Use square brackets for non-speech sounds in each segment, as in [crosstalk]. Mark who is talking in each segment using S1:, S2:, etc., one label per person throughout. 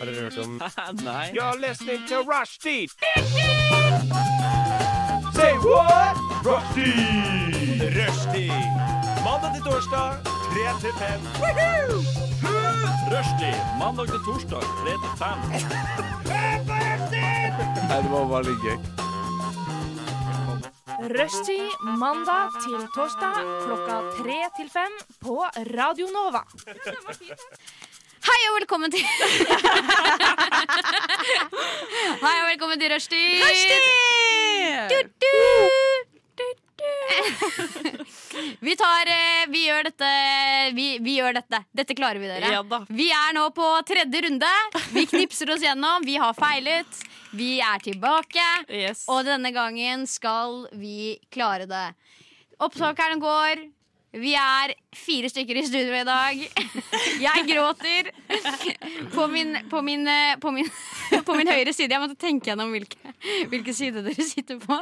S1: Har dere hørt om
S2: Nei.
S3: You're listening to Rushdie. Say what? Rushdie. Rushdie. Mandag til torsdag, 3 til 5. Rushdie. Mandag til torsdag, 3 til 5.
S2: Nei, det var bare litt gøy.
S4: Rushtid mandag til torsdag klokka tre til fem på Radio Nova.
S5: Hei og velkommen til [laughs] Hei og velkommen til Rushtid! Du, du, du, du. Vi tar eh, Vi gjør dette. Vi, vi gjør dette. Dette klarer vi, dere.
S6: Ja da.
S5: Vi er nå på tredje runde. Vi knipser oss gjennom. Vi har feilet. Vi er tilbake.
S6: Yes.
S5: Og denne gangen skal vi klare det. Opptakeren går. Vi er fire stykker i studio i dag. Jeg gråter. På min, på min, eh, på min, [laughs] på min høyre side Jeg måtte tenke gjennom hvilke, hvilke side dere sitter på.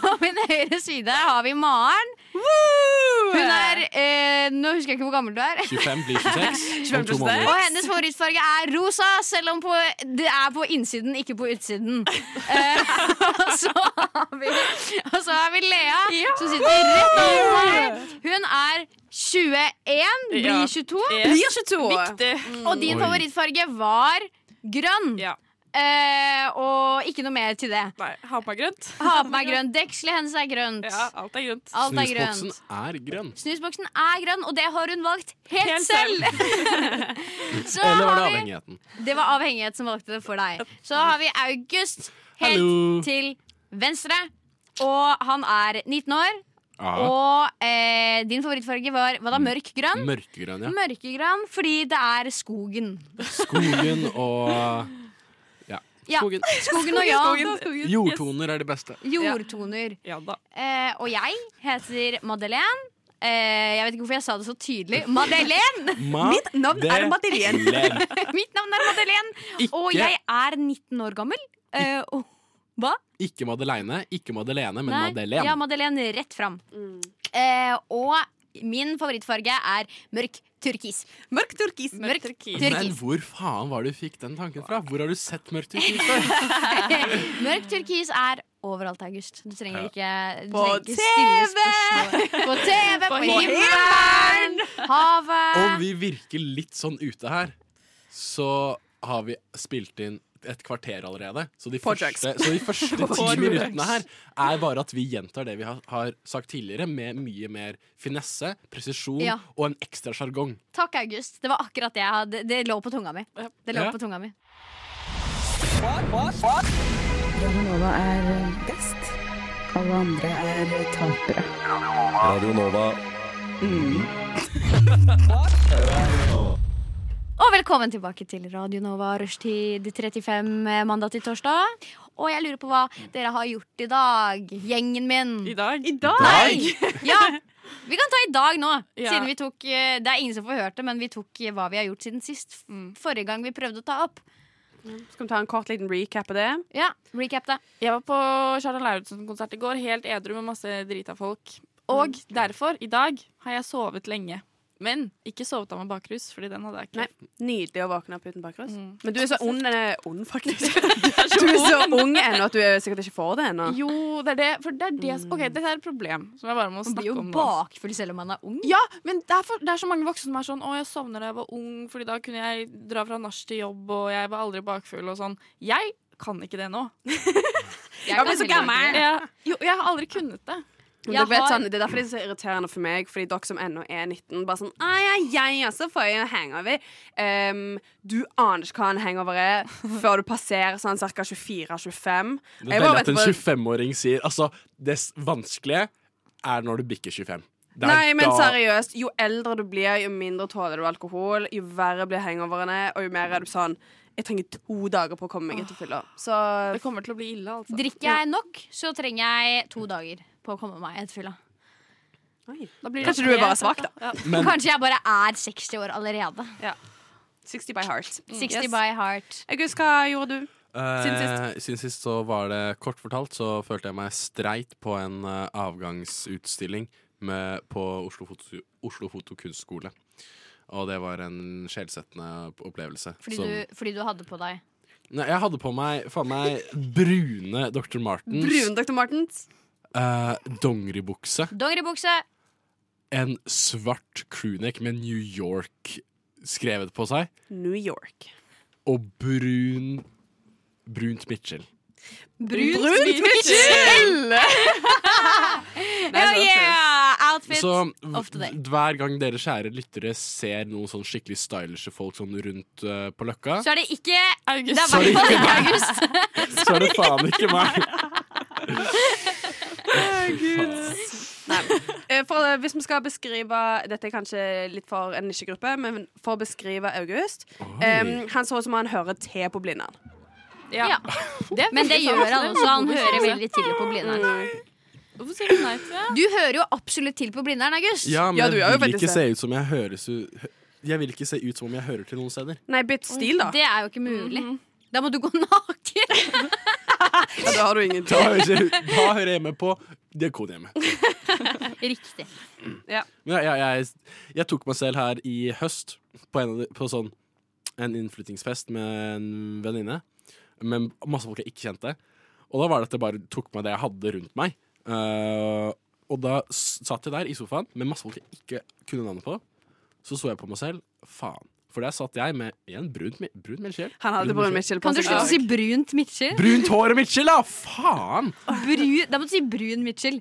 S5: På min høyre side har vi Maren. Hun er eh, Nå husker jeg ikke hvor gammel du er.
S1: 25 blir
S5: [laughs]
S1: 26 om to
S6: 25
S1: måneder?
S5: Og hennes favorittfarge er rosa, selv om på, det er på innsiden, ikke på
S6: [laughs]
S5: utsiden. Eh, og, så har vi, og så har vi Lea, som sitter rett over meg. Hun er 21, blir
S6: Ja.
S5: 22.
S6: Yes.
S5: 22.
S6: Viktig.
S5: Og din
S1: Oi.
S5: favorittfarge var grønn.
S6: Ja.
S5: Eh, og ikke noe mer til det.
S6: Nei, ha på meg grønt.
S5: Ha på meg grønt. Dekselet hennes er grønt.
S6: Ja, alt er grønt.
S5: Alt er
S1: Snusboksen
S5: grønt.
S1: er grønn.
S5: Snusboksen er grønn, og det har hun valgt helt,
S6: Helt selv.
S5: selv. [laughs] så
S1: Eller var det
S5: har vi
S1: avhengigheten?
S5: Det var avhengighet som valgte det for deg. Så har vi August helt
S1: Hallo.
S5: til venstre. Og han er 19 år.
S1: Ja.
S5: Og eh, din favorittfarge var hva da, mørk grønn?
S1: Mørkegrønn, ja.
S5: Mørkegrønn fordi det er skogen.
S1: Skogen og
S5: [laughs] Ja,
S1: Skogen.
S5: skogen
S1: [laughs]
S5: og ja.
S6: Skogen.
S1: Jordtoner er de beste.
S5: Jordtoner.
S6: Yes. Ja da.
S5: Eh, og jeg heter Madeleine. Eh, jeg vet ikke hvorfor jeg sa det så tydelig. Madeleine!
S1: Mitt
S5: navn
S1: er Madeleine.
S5: [laughs] Mitt navn er Madeleine, og
S1: Ikke-
S5: jeg er 19 år gammel. Eh, og, hva?
S1: [laughs] Ikke Madeleine, ikke Madeleine, men
S5: Nei,
S1: Madeleine.
S5: Ja, Madeleine rett fram. Eh, og min favorittfarge er mørk turkis. Mørk turkis. Mørk
S6: turkis.
S1: Men
S5: turkis,
S1: hvor faen var det du fikk den tanken fra? Hvor har du sett mørkt turkis før?
S5: [laughs] mørk turkis er overalt, August. Du trenger ikke, du
S6: På
S5: trenger ikke stille spørsmål. På TV, på, himmelen,
S1: Om
S5: havet
S1: vi virker litt sånn ute her, så har vi spilt inn et kvarter allerede. Så de første, så de
S7: [laughs]
S1: første ti minuttene her er bare at vi gjentar det vi har, har sagt tidligere, med mye mer finesse, presisjon
S5: Ja.
S1: og en ekstra sjargong.
S5: Takk, August. Det var akkurat det jeg hadde. Det lå på tunga mi. Det lå
S1: Ja.
S5: på tunga mi.
S8: Nova er eh, best. Alle andre er eh, tapere.
S9: Radio Nova.
S5: Og velkommen tilbake til Radio Nova rushtid 35 eh, mandag til torsdag. Og jeg lurer på hva dere har gjort i dag, gjengen min.
S6: I [laughs] dag.
S5: Nei! Ja, vi kan ta i dag nå.
S6: Ja.
S5: Siden vi tok, eh, det er ingen som får hørt det, men vi tok eh, hva vi har gjort siden sist. F- Forrige gang vi prøvde å ta opp.
S7: Skal vi ta en kort liten recap av det?
S5: Ja, recap det.
S6: Jeg var på Charlotte Lauritzen-konsert i går, helt edru med masse drita folk. Og
S7: Mm.
S6: derfor, i dag, har jeg sovet lenge. Men ikke sovet av meg bakrus, fordi den hadde jeg ikke.
S7: Nei. Nydelig å våkne opp uten bakgrunn.
S6: Mm.
S7: Men du er så ond, eh, ond [laughs] faktisk. Du er så ung ennå at du er sikkert ikke får det ennå.
S6: Jo, det er det. For det er det
S7: Mm.
S6: som OK, dette er et problem som jeg bare må
S5: Man blir
S6: snakke
S5: jo
S6: om. nå.
S5: bakfull selv om man er ung.
S6: Ja, men det er, for, det er så mange voksne som er sånn 'Å, jeg sovner da jeg var ung, Fordi da kunne jeg dra fra nach til jobb, og jeg var aldri bakfull', og sånn. Jeg kan ikke det nå.
S5: Jeg kan
S7: Ja, men
S5: heller ikke
S7: så gammel.
S5: det.
S6: Jeg, jo, jeg har aldri kunnet det.
S7: Men
S5: Jeg
S7: dere vet,
S5: har-
S7: sånn, det er derfor det er så irriterende for meg, fordi dere som ennå er 19, bare sånn Ai, ai, ai, ja, så får jeg en hangover. Um, du aner ikke hva en hangover er før du passerer sånn ca.
S1: Det er
S7: 24-25. Jeg bare
S1: veldig at
S7: vet
S1: en
S7: på-
S1: 25-åring sier Altså, det s- vanskelige er når du bikker 25. Det er
S7: Nei, men
S1: da-
S7: seriøst, jo eldre du blir, jo mindre tåler du alkohol, jo verre blir hangoverne, og jo mer er du sånn Jeg trenger to dager på å komme meg etter fylla. Så
S6: Det kommer til å bli ille, altså.
S5: Drikker jeg nok, så trenger jeg to dager på å komme meg etter fylla.
S6: Da blir det Mm,
S7: Kanskje du er bare
S6: helt-
S7: svak, da.
S1: Men-
S5: Kanskje jeg bare er 60 år allerede.
S7: 60 by heart.
S5: 60 by heart.
S7: August, hva gjorde du? Siden
S1: Eh, Siden sist så var det kort fortalt så følte jeg meg streit på en eh, avgangsutstilling med, på Oslo, Foto, Oslo Fotokunstskole. Og det var en sjelsettende opplevelse.
S5: Fordi,
S1: som-
S5: du, fordi du hadde på deg
S1: Nei, jeg hadde på meg faen meg brune Dr. Martens.
S7: Brune Dr. Martens.
S1: eh, dongeribukse.
S5: dongeribukse.
S1: En svart crewneck med New York skrevet på seg.
S7: New York.
S1: Og brun brunt Mitchell.
S7: Brunt,
S5: Brunt
S7: Mitchell!
S5: Hell yeah! Outfit
S1: Så
S5: of the day.
S1: v- hver gang dere kjære lyttere ser noen sånn skikkelig stylishe folk sånn rundt eh, på Løkka,
S5: Så er det ikke
S6: [laughs] August.
S5: Det er i
S1: Sorry.
S5: hvert fall ikke august.
S1: så er det faen ikke meg.
S7: [laughs]
S1: Faen.
S7: Eh, For, eh, hvis vi skal beskrive Dette er kanskje litt for en nisjegruppe, men for å beskrive August eh, Han så ut som han hører te på Blindern.
S5: Ja. Men [laughs] det gjør han også. Han hører veldig til på Blindern.
S6: Hvorfor sier du nei til det?
S5: Du hører jo absolutt til på Blindern, August.
S1: Ja, men
S7: Ja, du er jo
S1: jeg vil
S7: veldig
S1: ikke se ut som jeg høres ut Jeg vil ikke se ut som om jeg hører til noen
S7: [laughs]
S1: steder.
S7: Nei, bytt stil, da.
S5: Det er jo ikke mulig. Da må du gå [laughs] naken.
S7: Ja, da har du ingen
S1: Da hører jeg, da hører jeg hjemme på Diakonhjemmet.
S5: Riktig.
S1: Men jeg, jeg, jeg, jeg tok meg selv her i høst på, en, av de- på sånn en innflyttingsfest med en venninne. Med masse folk jeg ikke kjente. Og da var det at jeg bare tok meg det jeg hadde rundt meg. Eh, og da s- satt jeg der i sofaen med masse folk jeg ikke kunne navnet på. Så så jeg på meg selv. Faen. For der satt jeg med igjen brunt, mi- brunt Mitchell.
S7: Han hadde brun Mitchell på
S5: Kan du slutte å si brunt Mitchell?
S1: Brunt hår og Mitchell, da! Faen!
S5: Bru, da må du si brun Mitchell.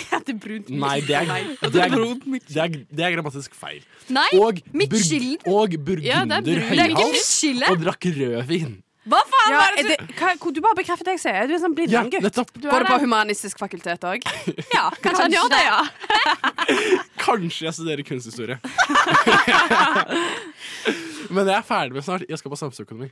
S1: Nei, det er, det er, det er, det er grammatisk feil.
S5: Nei,
S1: Og,
S5: Mitchell.
S1: burg- og
S6: Ja, det
S1: burgunder
S6: er brun.
S5: Det er ikke
S1: høyhals
S5: Mitchell.
S1: og drakk rødvin.
S5: Hva faen
S7: Ja,
S5: var det du
S7: det, hva, hvor- du bare bekrefter det jeg sier. Du er en sånn
S1: Ja,
S7: Blindern-gutt.
S1: nettopp.
S7: Går det på humanistisk fakultet òg? Ja, kanskje han gjør det, ja.
S1: Kanskje jeg studerer
S6: [laughs]
S1: kunsthistorie. Men jeg er ferdig med snart. Jeg skal på samfunnsøkonomi.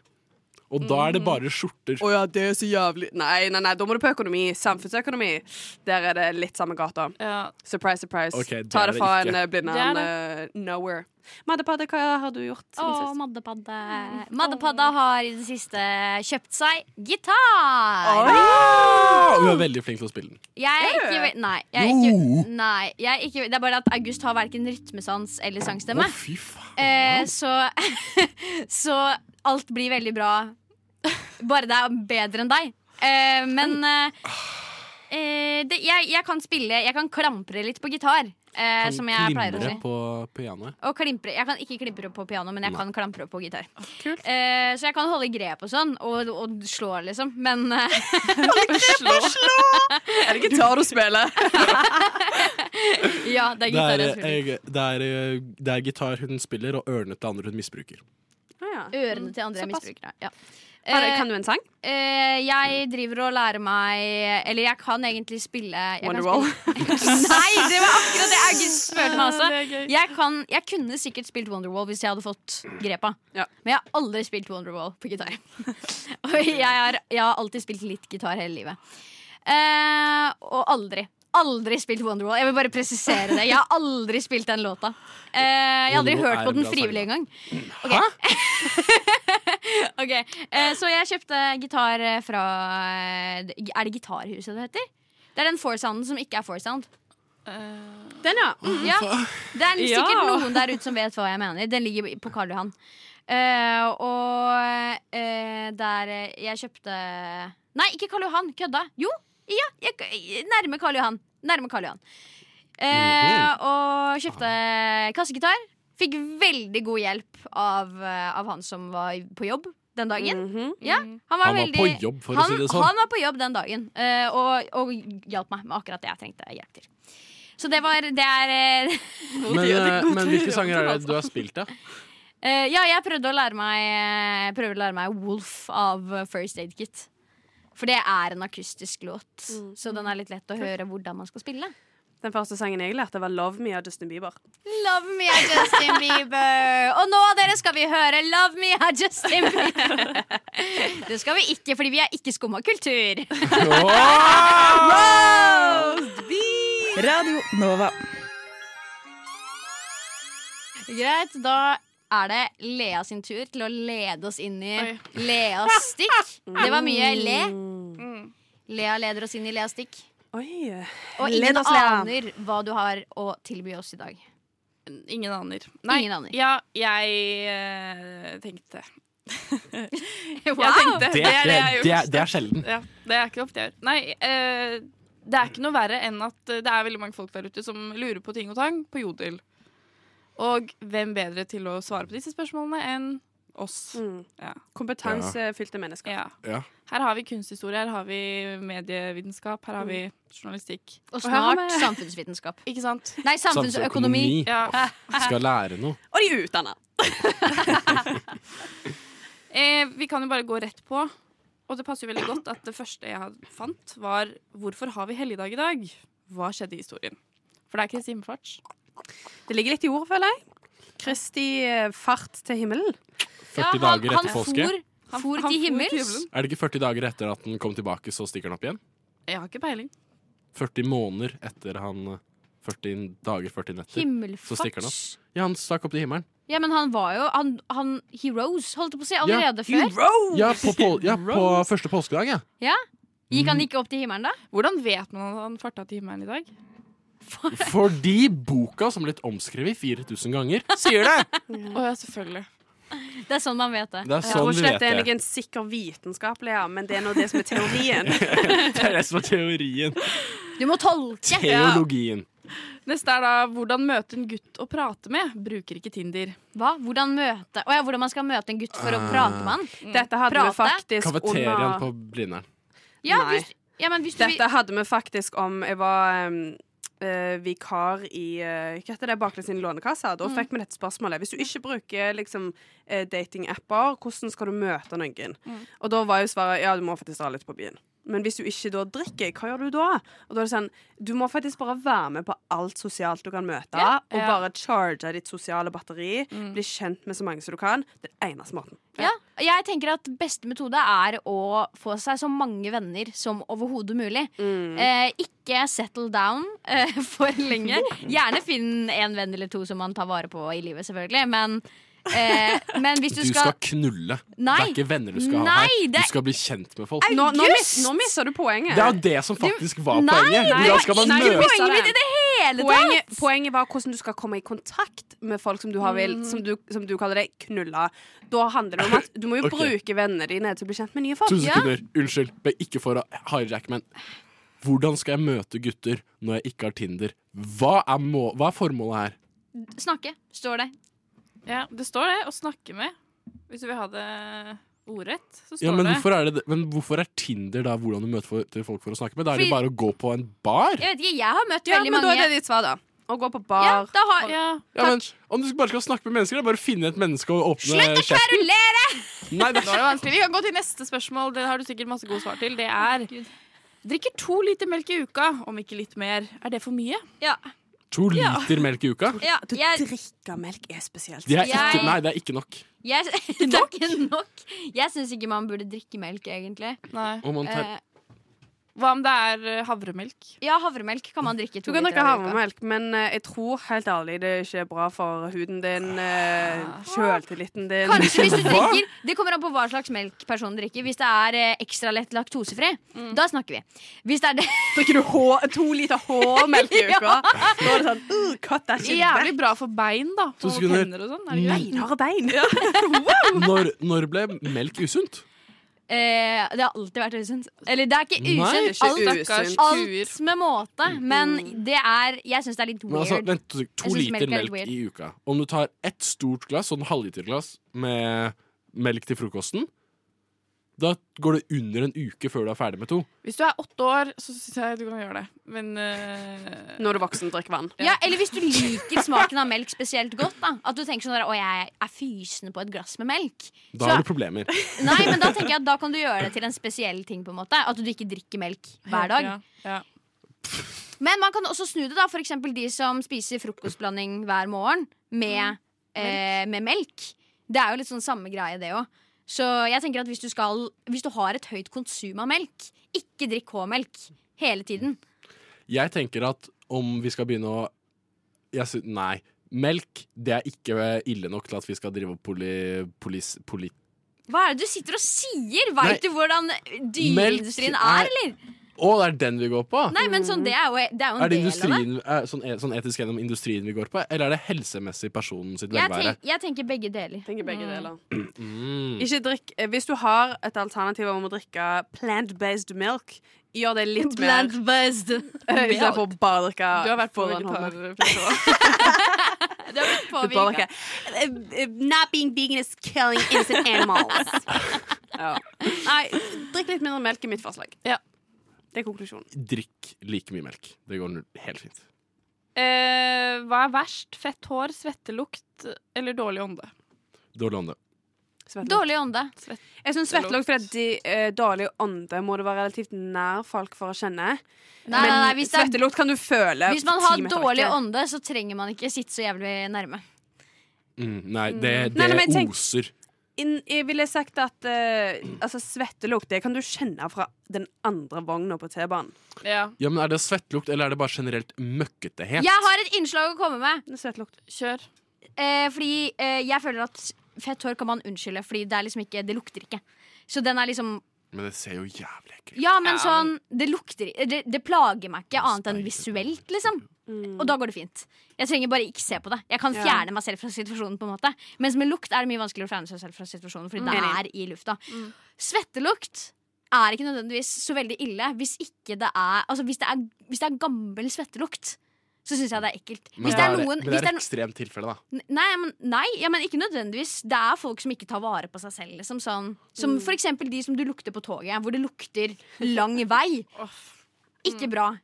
S1: Og da
S5: Mm.
S1: er det bare skjorter.
S7: Å ja, det er så jævlig Nei, nei, nei, da må du på økonomi. Samfunnsøkonomi. Der er det litt samme gata.
S6: Ja.
S7: Surprise, surprise.
S1: Ok, det
S7: Ta
S1: er
S7: det
S1: det
S7: fra
S1: ikke.
S7: en eh, blindern eh, nowhere. Maddepadde, hva har du
S5: Å,
S7: gjort siden sist?
S5: Maddepadde. Maddepadda har i det siste kjøpt seg gitar.
S1: Ah, Hun er veldig flink til å spille den.
S5: Jeg er ikke ve- Nei. Jeg er ikke, nei jeg er ikke, det er bare at August har verken rytmesans eller
S1: Å,
S5: sangstemme.
S1: fy faen.
S5: Eh, så, [laughs] så alt blir veldig bra. Bare det er bedre enn deg. Eh, men eh, eh, det, jeg, jeg kan spille Jeg kan klampre litt på gitar, eh, som jeg pleier å si.
S1: Glimre på pianoet.
S5: Og klimpre. Jeg kan ikke klimpre på piano, men jeg kan klampre på gitar.
S1: Ah,
S5: Eh, så jeg kan holde grep og sånn, og, og slå, liksom. Men eh, [laughs]
S7: Er det gitar du spiller?
S5: ja, det
S1: Det
S5: er gitar
S1: er,
S5: jeg spiller.
S1: eh, det, er, eh, det er gitar hun spiller, og ørene til andre hun misbruker.
S7: Ah, ja.
S5: Ørene til andre
S7: Såpass.
S5: misbrukere. Ja.
S7: Har du- Kan du en sang?
S5: Eh, jeg driver og lærer meg Eller jeg kan egentlig spille jeg kan
S7: Wonderwall.
S5: spille- [laughs] Nei, det var akkurat det August spurte meg
S6: Det er
S5: også.
S6: gøy.
S5: Jeg, kan, jeg kunne sikkert spilt Wonderwall hvis jeg hadde fått grepa.
S7: Ja.
S5: Men jeg har aldri spilt Wonderwall på gitar. [laughs] og jeg har, jeg har alltid spilt litt gitar hele livet. Eh, og aldri. Aldri spilt Wonderwall. Jeg vil bare presisere det. Jeg har aldri spilt den låta. Eh, jeg har aldri
S1: Wonderwall
S5: hørt
S1: er
S5: på
S1: en
S5: den
S1: bra sang, da.
S5: frivillig engang. Okay. [laughs] Ok, eh, Så jeg kjøpte gitar eh, fra eh, Er det Gitarhuset det heter? Det er den four-sounden som ikke er four-sound.
S6: Eh,
S7: Den, ja. Mm.
S5: Ja, det er
S6: Ja.
S5: sikkert noen der ute som vet hva jeg mener. Den ligger på Karl Johan. Eh, og eh, der eh, jeg kjøpte Nei, ikke Karl Johan. Kødda. Jo, ja, jeg, nærme Karl Johan. Nærme Karl Johan. Eh,
S1: Mhm.
S5: og kjøpte kassegitar. Fikk veldig god hjelp av, eh, av han som var på jobb den dagen. Ja, han var,
S1: Mhm. Han var
S5: veldig,
S1: på jobb, for å
S5: han,
S1: si det sånn.
S5: Han var på jobb den dagen eh, og, og hjalp meg med akkurat det jeg trengte hjelp til. Så det var Det er eh, [laughs]
S1: Men, eh, men hvilke sanger er det du har spilt,
S6: [laughs]
S1: da?
S5: Eh, ja, jeg prøvde å lære meg eh, prøvde å lære meg Wolf av eh, First Aid Kit. For det er en akustisk låt, så den er litt lett å høre hvordan man skal spille.
S7: Den første sangen jeg lærte, var 'Love Me' av Justin Bieber.
S5: Love me av Justin Bieber. Og nå dere skal vi høre Love me av Justin Bieber. [laughs] Det skal vi ikke, fordi vi er ikke skumma kultur.
S8: Radio Nova.
S5: Greit, da er det Lea sin tur til å lede oss inn i
S6: Oi.
S5: Leas stikk. Det var mye le.
S6: Mm.
S5: Lea leder oss inn i Leas stikk.
S7: Oi.
S5: Og
S7: Led
S5: ingen
S7: oss, Lea.
S5: aner hva du har å tilby oss i dag.
S6: Ingen aner. Nei,
S5: Ingen aner.
S6: Ja, jeg eh, tenkte.
S5: Wow!
S6: Jeg tenkte.
S1: Det,
S6: Det er det jeg har gjort.
S1: det, er- det er sjelden.
S6: Ja, det er ikke ofte jeg gjør. Nei, eh, det er ikke noe verre enn at eh, det er veldig mange folk der ute som lurer på ting og tang på Jodel. Og hvem bedre til å svare på disse spørsmålene enn oss?
S7: Mm.
S6: Ja.
S7: Kompetansefylte mennesker.
S6: ja.
S1: Ja.
S6: Her har vi kunsthistorie, her har vi medievitenskap, her har vi journalistikk.
S5: Og
S7: Og her har
S5: snart
S7: vi-
S5: samfunnsvitenskap.
S6: Ikke sant?
S5: Nei, samfunnsøkonomi.
S6: Ja.
S1: Skal lære noe.
S7: Og de er utdanna.
S6: Eh, vi kan jo bare gå rett på. Og det passer jo veldig godt at det første jeg had- fant, var hvorfor har vi helligdag i dag? Hva skjedde i historien? For det er Kristi himmelfarts.
S7: Det ligger litt i ordet, føler jeg. Kristi eh, fart til himmelen.
S1: Sånn 40 dager etter påske.
S5: for,
S6: Han-
S5: for
S6: han
S5: til
S6: for
S5: himmels.
S6: jubelen.
S1: Er det ikke 40 dager etter at han kom tilbake, så stikker han opp igjen?
S6: Jeg har ikke peiling.
S1: 40 måneder etter han 40 dager, 40 netter. Så stikker han
S5: Himmelfarts.
S1: Ja, han stakk opp til himmelen.
S5: Ja, men han var jo Han, han he rose, holdt jeg på å si, allerede før.
S1: Ja, på, pol- ja, på første påskedag, ja.
S5: Gikk han ikke opp til himmelen da?
S6: Hvordan vet man at han farta til himmelen i dag?
S1: Fordi boka, som er blitt omskrevet 4000 ganger, sier det!
S6: Å ja, selvfølgelig.
S5: Det er sånn man vet det.
S1: Det er
S7: Jeg tror
S1: sånn vi
S7: ikke
S1: vet
S7: dette er
S1: det.
S7: noen sikker vitenskapelig, ja, men det er nå det som er teorien. [laughs]
S1: Det er det som er teorien.
S5: Du må tolke!
S1: Teologien.
S6: Neste er da hvordan møte en gutt å prate med. Bruker ikke Tinder.
S5: Hva? Hvordan møte Å ja, hvordan man skal møte en gutt for å
S1: Ah.
S5: prate med han?
S7: Dette hadde vi
S5: Prate.
S7: faktisk
S1: Kafeteriaen
S7: under
S1: på Blindern.
S5: Ja,
S7: Nei.
S5: hvis, ja men hvis du vil
S7: Dette hadde vi faktisk om jeg var um, eh, vikar i eh, Hva heter det, Baklengs inn i Lånekassa.
S6: Mm.
S7: Da fikk vi dette spørsmålet. Hvis du ikke bruker liksom, eh, datingapper, hvordan skal du møte noen?
S6: Mm.
S7: Og da var jo svaret ja, du må faktisk dra litt på byen. Men hvis du ikke da drikker, hva gjør du da? Og da er det sånn, Du må faktisk bare være med på alt sosialt du kan møte,
S6: Ja,
S7: og
S6: ja. Mm.
S7: bare charge ditt sosiale batteri. Bli kjent med så mange som du kan. Det er den eneste måten.
S5: Ja. Jeg tenker at beste metode er å få seg så mange venner som overhodet mulig.
S7: Mm.
S5: Eh, ikke settle down eh, [laughs] for lenge. Gjerne finn en venn eller to som man tar vare på i livet, selvfølgelig. Men, eh, men hvis
S1: Du
S5: du
S1: skal
S5: skal
S1: knulle. Det
S5: Nei.
S1: er ikke venner du skal ha
S5: Nei,
S1: her. Du
S5: det-
S1: skal bli kjent med folk.
S7: Nå, nå, mis,
S5: August!
S7: nå misser du poenget.
S1: Det er jo det som faktisk var
S5: Nei,
S1: poenget.
S7: nei,
S1: Hvordan skal
S7: det var
S1: man
S7: ikke
S1: møte
S7: poenget.
S5: Poenget mitt i det hele tatt!
S7: Poenget, poenget var hvordan du skal komme i kontakt med folk som du har vil, som, du, som du kaller det, knulla. Da handler det om at du må jo
S1: Ok.
S7: bruke venner dine til å bli kjent med nye folk.
S1: 1000 sekunder. Unnskyld, men ikke for å hijack, men hvordan skal jeg møte gutter når jeg ikke har Tinder? Hva er, må hva er formålet her?
S5: Snakke, står det.
S6: Ja, Det står det. Å snakke med. Hvis du vil ha det ordrett, så står
S1: Ja, men,
S6: det
S1: hvorfor er det, men hvorfor er Tinder da hvordan du møter for, til folk for å snakke med? Da er det
S5: Fordi-
S1: bare å gå på en bar.
S5: Jeg vet ikke, jeg har møtt
S7: Ja,
S5: veldig
S7: men da
S5: mange
S7: er det ditt svar, da. Å gå på
S5: ja,
S7: bar.
S5: da har,
S6: ja,
S1: Ja, men, om du bare skal snakke med mennesker, det er bare å finne et menneske og åpne
S5: Slutt å
S1: kjeften.
S5: kverulere!
S1: Nei, det
S6: Nå er det vanskelig. Vi kan gå til neste spørsmål. Det har du sikkert masse gode svar til. Det er Drikker to liter melk i uka, om ikke litt mer. Er det for mye?
S5: Ja,
S1: To liter melk i uka?
S5: ja,
S7: Du
S5: jeg,
S7: drikker melk er spesielt.
S1: Det er
S5: Jeg-
S1: ikke, nei, det er ikke nok.
S5: jeg, [laughs] det er ikke nok. Jeg syns ikke man burde drikke melk, egentlig.
S6: Nei.
S1: Og man tar,
S5: Eh,
S6: Hva om det er eh, havremelk?
S5: Ja, havremelk kan man drikke
S7: Du
S5: to
S7: kan
S5: liter
S7: drikke
S5: av i uka.
S7: havremelk, men eh, jeg tror helt ærlig det er ikke bra for huden din, uh, sjøltilliten din. [laughs]
S5: Kanskje hvis du
S1: Hva?
S5: drikker Det kommer an på hva slags melk personen drikker. Hvis det er eh, ekstra lett laktosefri, da snakker vi. Hvis det er det [laughs]
S7: Drikker du H- to liter H-melk i [laughs] uka? Da er det sånn uh, Cut that shit back.
S6: Jævlig bra for bein, da.
S1: To
S6: Og
S1: sekunder.
S6: tenner og sånn. Er det greit?
S7: Beinharde bein.
S1: når, når ble melk usunt?
S5: eh, Det har alltid vært usunt. Eller det er ikke
S1: Nei, det er
S5: usunt.
S7: ikke
S5: Alt,
S7: usunt.
S5: alt med måte. Men det er Jeg syns det er litt
S1: Men altså,
S5: weird.
S1: vent, to sek- to
S5: Jeg synes
S1: liter
S5: melk er litt
S1: melk, i uka. Om du tar ett stort glass, sånn halvliterglass med melk til frokosten, da går det under en uke før du er ferdig med to.
S6: Hvis du er åtte år, så syns jeg du kan gjøre det. Men eh,
S7: Når du er voksen, drikk vann.
S5: Ja, eller hvis du liker smaken av melk spesielt godt. da At du tenker sånn der, Å, jeg er fysen på et glass med melk.
S1: Da har du problemer.
S5: Nei, men Da tenker jeg at da kan du gjøre det til en spesiell ting. på en måte At du ikke drikker melk hver dag.
S6: Ja, ja.
S5: Men man kan også snu det, da. For eksempel de som spiser frokostblanding hver morgen med, eh, med melk. Det er jo litt sånn samme greie, det òg. Så jeg tenker at hvis du, skal, hvis du har et høyt konsum av melk, ikke drikk K-melk hele tiden.
S1: Jeg tenker at om vi skal begynne å jeg sy Nei. Melk det er ikke ille nok til at vi skal drive og poli... polis... Poli
S5: Hva er det du sitter og
S1: Nei.
S5: sier? Veit du hvordan dyreindustrien
S1: Melk
S5: er,
S1: er-
S5: eller?
S1: Å, det er den vi går på?
S5: Nei, men sånn, det er jo, det er jo en
S1: Er det
S5: del av det.
S1: industrien, er, sånn, e- sånn etisk gjennom industrien vi går på, eller er det helsemessig personen sitt
S5: Jeg,
S1: velvære?
S5: tenk, jeg tenker begge deler.
S7: Tenker begge deler.
S1: Mm.
S7: Ikke drikk eh, Hvis du har et alternativ om å drikke plant-based milk, gjør det litt mer
S5: Plant-based.
S7: [laughs] eh, istedenfor
S5: milk.
S7: bare å drikke
S6: Du har vært på
S7: foran hånda.
S6: vegetar. [laughs] Petra.
S5: Det har blitt
S7: Du bare
S5: påvirket.
S7: drikker, eh, eh, Not being vegan is killing
S5: [laughs]
S7: innocent animals. ja. Nei, drikk litt mindre melk i mitt forslag.
S6: Ja.
S7: Det er konklusjonen.
S1: Drikk like mye melk. Det går null- helt fint.
S6: Eh, hva er verst? Fett hår, svettelukt eller dårlig ånde?
S1: Dårlig ånde.
S7: Svettelukt.
S5: Dårlig ånde.
S7: Jeg syns svettelukt fordi de, eh, dårlig ånde må du være relativt nær folk for å kjenne.
S5: Nei, nei, nei,
S7: Men
S5: hvis, det er,
S7: svettelukt kan du føle
S5: hvis man har
S7: ti meter
S5: dårlig
S7: vekk.
S5: ånde, så trenger man ikke sitte så jævlig nærme.
S1: Mm, nei, det, det
S7: Nei, nei, men tenk-
S1: oser.
S7: Inn- Jeg ville sagt at eh, altså, svettelukt det kan du kjenne fra den andre vogna på T-banen.
S6: Ja,
S1: Ja, men Er det svettlukt, eller er det bare generelt møkketehet?
S5: Jeg har et innslag å komme med.
S7: Det er Svettelukt.
S6: kjør.
S5: Eh, fordi eh, jeg føler at fett hår kan man unnskylde, fordi det er liksom ikke Det lukter ikke. Så den er liksom
S1: Men det ser jo jævlig ekkelt ut.
S5: Ja, men
S6: Ja.
S5: sånn Det lukter Det, det plager meg ikke annet enn visuelt, liksom. Og da går det fint. Jeg trenger bare ikke se på det. Jeg kan
S7: Mm. Ja.
S5: fjerne meg selv fra situasjonen. på en måte Mens med lukt er det mye vanskeligere å fjerne seg selv fra situasjonen, fordi det
S7: Mm. Enig. Mm.
S5: er i lufta. Svettelukt er ikke nødvendigvis så veldig ille hvis ikke det er Altså hvis det er, hvis det er gammel svettelukt. Så syns jeg det er ekkelt.
S1: Men
S5: Hvis det er
S1: bare-
S5: noen
S1: men det
S5: hvis det
S1: er
S5: er no-
S1: ekstremt
S5: [laughs]
S1: tilfelle, da.
S5: Nei, men, nei ja, men ikke nødvendigvis. Det er folk som ikke tar vare på seg selv. Liksom, sånn. Som for eksempel de som du lukter på toget, hvor det lukter lang vei. Ikke bra.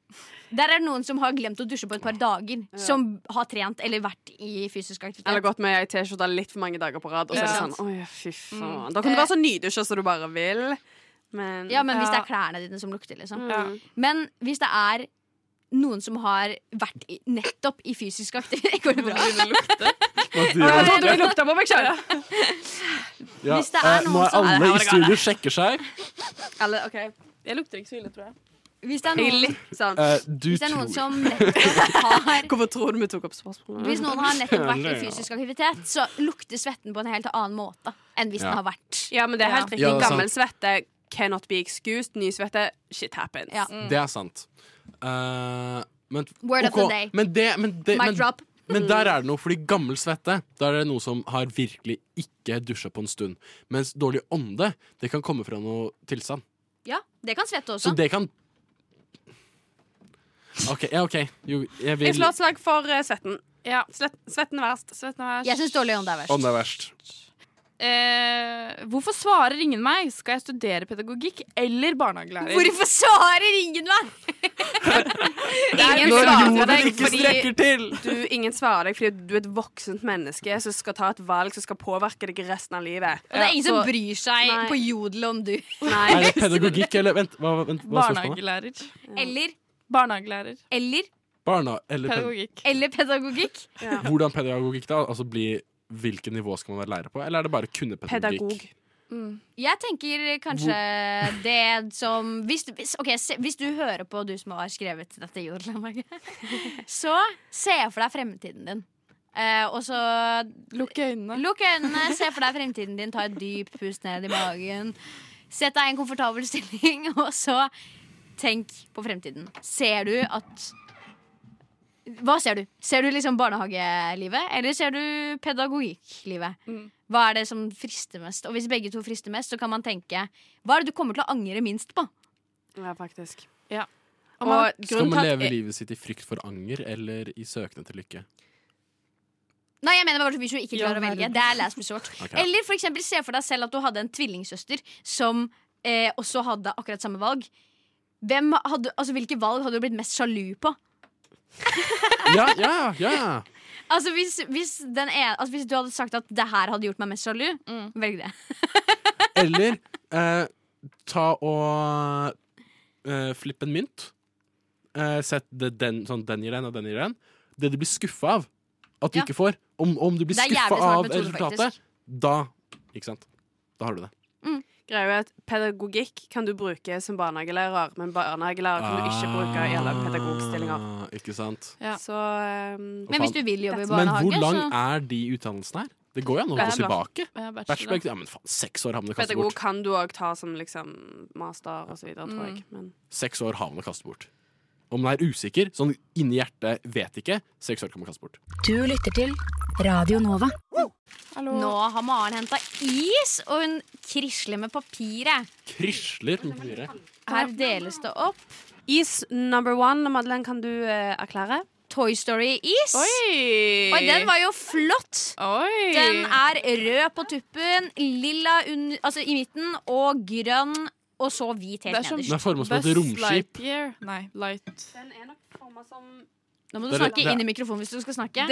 S5: Der er det noen som har glemt å dusje på et par dager. Som har trent eller vært i fysisk
S7: Eller
S5: aktivitet.
S7: gått med ei T-skjorte litt for mange dager på rad. Og så er det
S6: Ja.
S7: sånn, oi, fy faen Da kan du være så nydusja som du bare vil. Men,
S5: Ja, men hvis det
S6: Ja.
S5: er klærne dine som lukter, liksom.
S6: Ja.
S5: Men hvis det er noen som har vært i, nettopp i fysisk aktivitet [laughs] Går det bra?
S6: Begynner å lukte.
S7: jeg trodde du lukta på meg sjøl!
S1: Ja,
S5: Hvis det er
S1: eh,
S5: noen
S1: Nå er
S5: som-
S1: alle i studio sjekker seg.
S7: Eller OK,
S6: Jeg lukter ikke så ille, tror jeg.
S5: Hvis det er
S7: jeg er
S5: noen,
S7: litt sånn
S1: Eh, du
S5: hvis det er
S1: tror
S5: noen som nettopp har
S7: Hvorfor tror du vi tok opp spørsmålet?
S1: Mm.
S5: Hvis noen har
S1: [laughs]
S5: nettopp vært i fysisk aktivitet, så lukter svetten på en helt annen måte enn hvis
S1: Ja.
S5: den har vært.
S7: Ja, men det er helt riktig.
S1: Ja, det er sant.
S7: Gammel svette cannot be excused. Ny svette shit happens.
S5: Ja.
S1: Det er sant. Eh, men,
S5: Word of
S1: ok,
S5: the day.
S1: Men, det, men, det,
S5: Mic
S1: men,
S5: drop.
S1: men der er det noe, fordi gammel svette Da er det noe som har virkelig ikke dusja på en stund. Mens dårlig ånde Det kan komme fra noe tilstand.
S5: Ja, det kan svette
S1: Så
S5: også.
S1: det kan OK. Ja, ok jo, jeg
S7: Jeg
S1: vil
S7: slår et slag for eh, svetten.
S6: Ja.
S7: Svett, svetten er verst.
S6: Svetten er
S5: Jeg syns dårlig ånde er verst.
S1: Ånde er verst.
S6: Eh, hvorfor svarer ingen meg? Skal jeg studere pedagogikk eller
S5: [laughs]
S6: barnehagelærer?
S5: Hvorfor svarer ingen meg?!
S7: Ingen
S1: Når
S7: svarer
S1: jorden
S7: deg
S1: ikke
S7: fordi
S1: strekker
S7: [laughs]
S1: til!
S7: du, ingen svarer deg fordi du er et voksent menneske som skal ta et valg som skal påvirke deg resten av livet.
S5: Og det er ingen som bryr seg
S7: Nei.
S5: på jodel om du.
S1: Er
S7: Nei.
S1: det pedagogikk eller Vent, hva, vent, hva er spørsmålet?
S6: Barnehagelærer.
S5: Eller,
S6: Barnehagelærer.
S5: eller,
S1: Barna, eller pedagogikk.
S6: Pedagogikk.
S5: eller pedagogikk.
S1: Hvordan pedagogikk da? Altså bli, hvilket nivå skal man være lærer på? Eller er det bare kunne
S7: Pedagog.
S1: pedagogikk?
S5: Jeg tenker kanskje det som hvis, hvis, ok, se, hvis du hører på, du som har skrevet dette jodelanlaget, [laughs] så se for deg fremtiden din. Eh, og så
S6: Lukk øynene.
S5: Lukk øynene, se for deg fremtiden din, ta et dypt pust ned i magen. Sett deg i en komfortabel stilling, [laughs] og så tenk på fremtiden. Ser du at Hva ser du? Ser du liksom barnehagelivet, eller ser du pedagogikklivet? Hva er det som frister mest? Og hvis begge to frister mest, så kan man tenke Hva er det du kommer til å angre minst på?
S7: Ja, faktisk.
S6: Og
S7: Og
S6: man,
S1: Skal
S7: grunnen
S1: man
S7: til at
S1: leve livet sitt i frykt for anger eller i søken etter lykke?
S5: Nei, jeg mener bare hvis du ikke klarer å velge. Det er last resort.
S1: Ok.
S5: Eller for eksempel, se for deg selv at du hadde en tvillingsøster som eh, også hadde akkurat samme valg. Hvem hadde, altså, hvilke valg hadde du blitt mest sjalu på?
S1: Ja, ja, ja!
S5: Altså hvis, hvis, den ene, altså hvis du hadde sagt at det her hadde gjort meg mest sjalu,
S1: Mm.
S5: velg det.
S1: Eller eh, ta og eh, flippe en mynt. Eh, sett det, den, sånn, den gir den, og den gir den. Det du blir skuffa av at du
S5: Ja.
S1: ikke får. Om, om du blir
S5: Det er jævlig
S1: skuffa
S5: smart
S1: av
S5: metode,
S1: resultatet,
S5: faktisk.
S1: da Ikke sant? Da har du det.
S7: greia er at pedagogikk kan du bruke som barnehagelærer, men barnehagelærer kan du ikke bruke i alle pedagogstillinger.
S1: Ah, Ikke sant?
S6: Ja.
S7: Så um,
S5: Men hvis du vil jobbe i
S1: Men hvor
S5: barnehage,
S1: lang
S5: så
S1: er de utdannelsene her? Det går jo an å gå
S6: Bachelor.
S1: tilbake.
S6: Eh, Bachelor.
S1: Bachelor, ja, men faen, seks år har man å kaste
S7: Pedagog
S1: bort.
S7: kan du òg ta som liksom master og så videre, tror
S1: Mm.
S7: jeg. Men
S1: Seks år har man å kaste bort. Om man er usikker, sånn inni hjertet vet ikke, seks år kan man kaste bort.
S2: Du lytter til Radio Nova.
S6: Hallo.
S5: Nå har Maren henta is, og hun krisler med papiret.
S1: Krysler med papiret.
S5: Her deles det opp.
S7: Is number one, Madeleine, kan du eh, erklære?
S5: Toy Story-is. Oi.
S6: Oi!
S5: den var jo flott!
S6: Oi!
S5: Den er rød på tuppen, lilla un altså i midten og grønn, og så hvit
S6: Det er
S5: helt
S6: som
S5: nederst.
S1: Den er formet som et
S6: Buzz
S1: romskip.
S6: Lightyear. Nei, Light.
S7: Den er nok forma som
S5: Nå må du
S1: Det er-
S5: snakke
S1: det er-
S5: inn i mikrofonen hvis du skal snakke.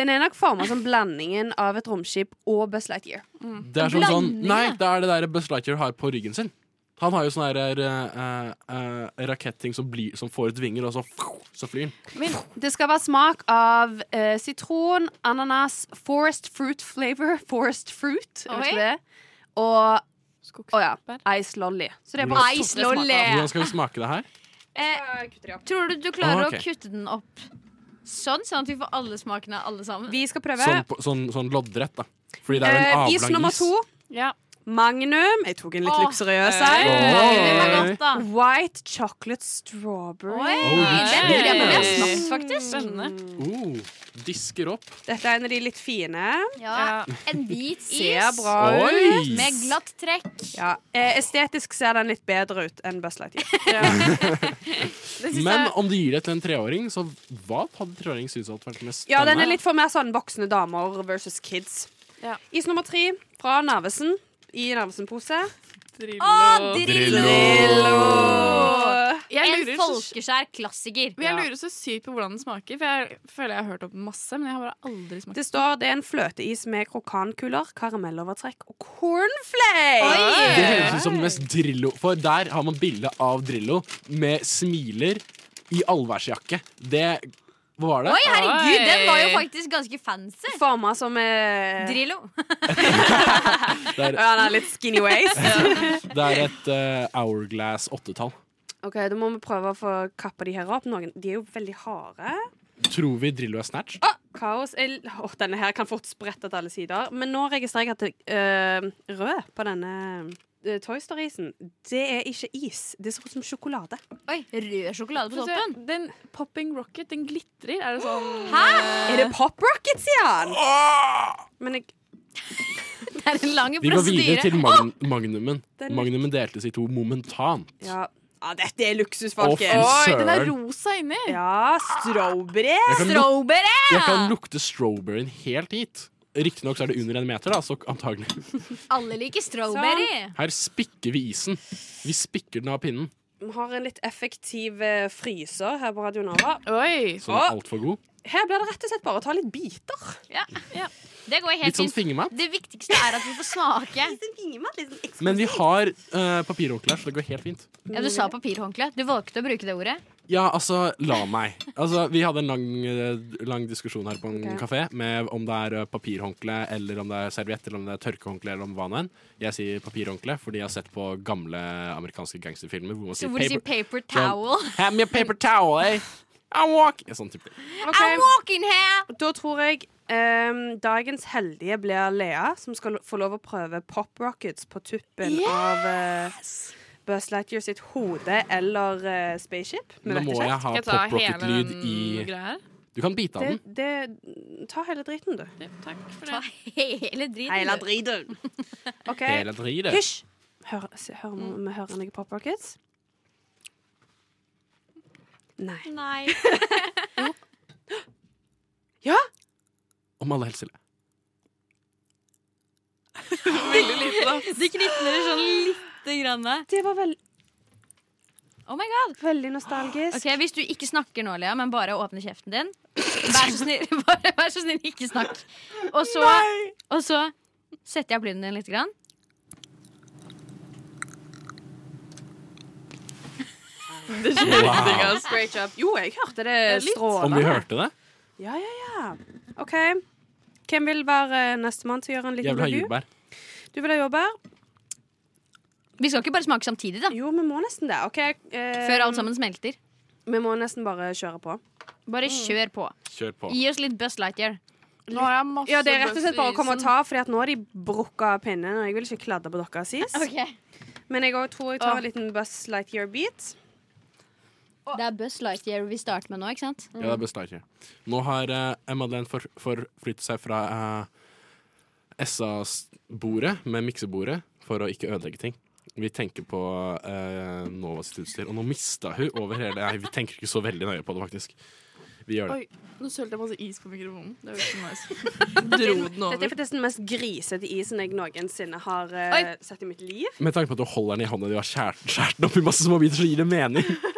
S7: blandingen av et romskip og Buzz Lightyear.
S1: Det er som sånn
S5: Blanding,
S1: Nei,
S5: ja.
S1: det er det der Buzz Lightyear har på ryggen sin. Han har jo sånn her eh, eh, eh, raketting som, blir- som får ut vinger, og så, så flyr han.
S7: Det skal være smak av eh, sitron, ananas, forest fruit flavor, forest fruit, er det
S5: Oi.
S7: ikke det? Og
S6: Skogs-
S7: Å ja. Ice lolly. Så det er bare
S1: Hvordan-
S5: Ice lolly!
S1: Hvordan skal vi smake det her?
S5: Eh,
S7: lolly.
S5: tror du du klarer
S1: Ah, ok.
S5: å kutte den opp sånn, sånn at vi får alle smakene alle sammen?
S7: Vi skal prøve.
S1: Sånn, på- sånn, sånn loddrett, da. Fordi det er
S7: Eh,
S1: en
S7: is
S1: avlang
S7: nummer
S1: is.
S7: to.
S6: Ja.
S7: Magnum. Jeg tok en litt
S5: Åh.
S7: luksuriøs
S6: Eh.
S7: her.
S5: Den er
S1: Oi.
S5: godt, da.
S7: White chocolate strawberry.
S5: Oi,
S1: Oh,
S5: den lurer jeg på om jeg har
S6: shit.
S5: smakt, faktisk.
S6: Spennende.
S1: Oh, disker opp.
S7: Dette er en av de litt fine.
S5: Ja.
S6: Ja.
S5: En hvit is
S7: Ser bra ut.
S1: Oi!
S5: med glatt trekk.
S7: Ja, eh, estetisk ser den litt bedre ut enn Buzz
S5: [laughs]
S7: Lightyear.
S1: Men om du gir det til en treåring, så hva hadde treåring syntes hadde vært mest
S7: Ja, den er litt for mer sånn voksne damer versus kids.
S6: Ja.
S7: Is nummer tre fra Narvesen. I Narvesen-pose.
S5: Å,
S1: Drillo.
S5: Drillo!
S6: Jeg
S5: En
S6: lurer så,
S5: folkeskjær klassiker.
S6: jeg lurer så sykt på hvordan den smaker, for jeg føler jeg har hørt om den masse, men jeg har bare aldri smakt
S7: Det står det er en fløteis med krokankuler, karamellovertrekk og cornflakes.
S1: Det høres ut som den mest Drillo, for der har man bilde av Drillo med smiler i allværsjakke. Det Hva var det?
S5: Oi, herregud,
S6: Oi.
S5: den var jo faktisk ganske fancy.
S7: Forma som eh,
S5: Drillo. [laughs]
S1: Det er,
S7: Ja, den er litt skinny waist.
S1: det er et eh, hourglass åttetall.
S7: OK, da må vi prøve å få kappa de her opp. Noen, de er jo veldig harde.
S1: Tror vi Drillo er snatch?
S7: Kaos er, Åh, Denne her kan fort sprette til alle sider. Men nå registrerer jeg at det, øh, rød på denne øh, Toy Story-isen, det er ikke is. Det ser ut som sjokolade.
S5: Oi, Rød sjokolade på
S6: Få se,
S5: toppen.
S6: Den Popping Rocket, den glitrer. Er det sånn
S7: Er det Pop Rocket, sier han? Men jeg,
S5: Det er en lang
S1: Vi går videre til
S5: prosedyre.
S1: magn magnumen.
S7: Den-
S1: Magnumen deltes i to momentant.
S7: ja. ja, dette er luksus,
S1: Å, fy
S7: folkens.
S6: Den er
S1: søren!
S6: rosa inni!
S7: Ja, strawberry.
S1: Jeg kan luk-
S5: Strawberry!
S1: Jeg kan lukte strawberryen helt hit. Riktignok så er det under en meter, da, så antagelig.
S5: Alle liker strawberry.
S1: Her spikker vi isen. Vi spikker den av pinnen,
S7: Vi har en litt effektiv eh, fryser her på Radio Nova.
S6: Oi!
S1: som er altfor god.
S7: Her blir det rett og slett bare å ta litt biter.
S5: Det går helt
S1: Litt sånn
S5: fint.
S1: fingermat.
S5: Det viktigste er at vi får smake.
S1: Men vi har uh, papirhåndklær, så det går helt fint.
S5: Ja, Du sa papirhåndkle. Du valgte å bruke det ordet.
S1: Ja, altså, la meg. Altså, vi hadde en lang, eh, lang diskusjon her på en
S7: Ok.
S1: kafé med om det er eh, papirhåndkle, eller om det er serviett, eller om det er tørkehåndkle, eller om hva nå enn. Jeg sier papirhåndkle fordi jeg har sett på gamle amerikanske gangsterfilmer hvor man
S5: Så
S1: sier
S5: hvor du sier
S1: paper,
S5: paper towel.
S1: Hand me a paper towel, eh? I walk! Ja, sånn type.
S5: I
S7: Ok,
S5: walk in here!
S7: Da tror jeg ehm, dagens heldige blir Lea, som skal lo- få lov å prøve Pop Rockets på tuppen av uh, Buzz Lightyear sitt hode eller eh, spaceship. Vi
S1: Nå
S7: vet
S1: må
S7: ikke.
S1: jeg ha
S6: Skal jeg ta
S1: pop
S6: hele
S1: rocket-lyd
S6: den
S1: i
S6: greia her?
S1: Du kan bite av
S7: Det,
S1: den.
S7: det, ta hele driten, du.
S6: Ja, takk for
S5: Ta
S6: det.
S5: hele driten. du.
S7: driten. OK.
S1: Hele dritet.
S7: Hysj! Hør, se- hør, om vi hører noe Pop Rockets. Nei.
S5: Nei.
S7: Ja!
S1: Om alle helst ville.
S5: De knitrer sånn lite grann.
S7: Det var vel,
S5: Oh my god.
S7: veldig nostalgisk.
S5: Ok, Hvis du ikke snakker nå, Lea, men bare åpner kjeften din Vær så snill, [laughs] bare, vær så snill ikke snakk. Og så, og så setter jeg blinden din litt. Grann.
S1: Wow.
S7: Great job. Jo, jeg hørte det
S6: litt.
S1: Om
S7: strålende.
S1: vi hørte det?
S7: Ja, ja, ja. OK. Hvem vil være nestemann til å gjøre en
S1: Jeg
S7: liten
S1: vil ha
S7: debut?
S1: jordbær.
S7: Du vil ha jordbær?
S5: Vi skal ikke bare smake samtidig, da.
S7: Jo, vi må nesten det. OK. eh,
S5: Før alt sammen smelter.
S7: Vi må nesten bare kjøre på.
S5: Bare kjør på.
S1: Kjør på.
S5: Gi oss litt Buzz Lightyear.
S6: Nå har jeg masse
S7: Ja, det er rett og slett bare å komme og
S6: bøffer i isen.
S7: ta, Fordi at nå har de brukka pinnen. Og jeg vil ikke kladde på dere sist.
S5: Ok.
S7: Men jeg også tror jeg tar
S6: Åh.
S7: en liten Buzz Lightyear beat.
S5: Det er Buzz Lightyear vi starter med nå, ikke sant?
S1: Ja, det er Buzz Lightyear. Nå har uh, Madeleine for, forflyttet seg fra eh, SA-bordet med miksebordet for å ikke ødelegge ting. Vi tenker på uh, Nova sitt utstyr, og nå mista hun over hele Nei, vi tenker ikke så veldig nøye på det, faktisk. Vi gjør det.
S6: Oi, nå sølte jeg masse is på mikrofonen. Det var ikke så nice. Dro den
S7: Dette er
S6: over.
S7: faktisk den mest grisete isen jeg noensinne har eh,
S6: Oi.
S7: sett i mitt liv.
S1: Med tanke på at du holder den i hånda, du har skjært, [laughs] skjært den opp i masse små biter, så gir det mening.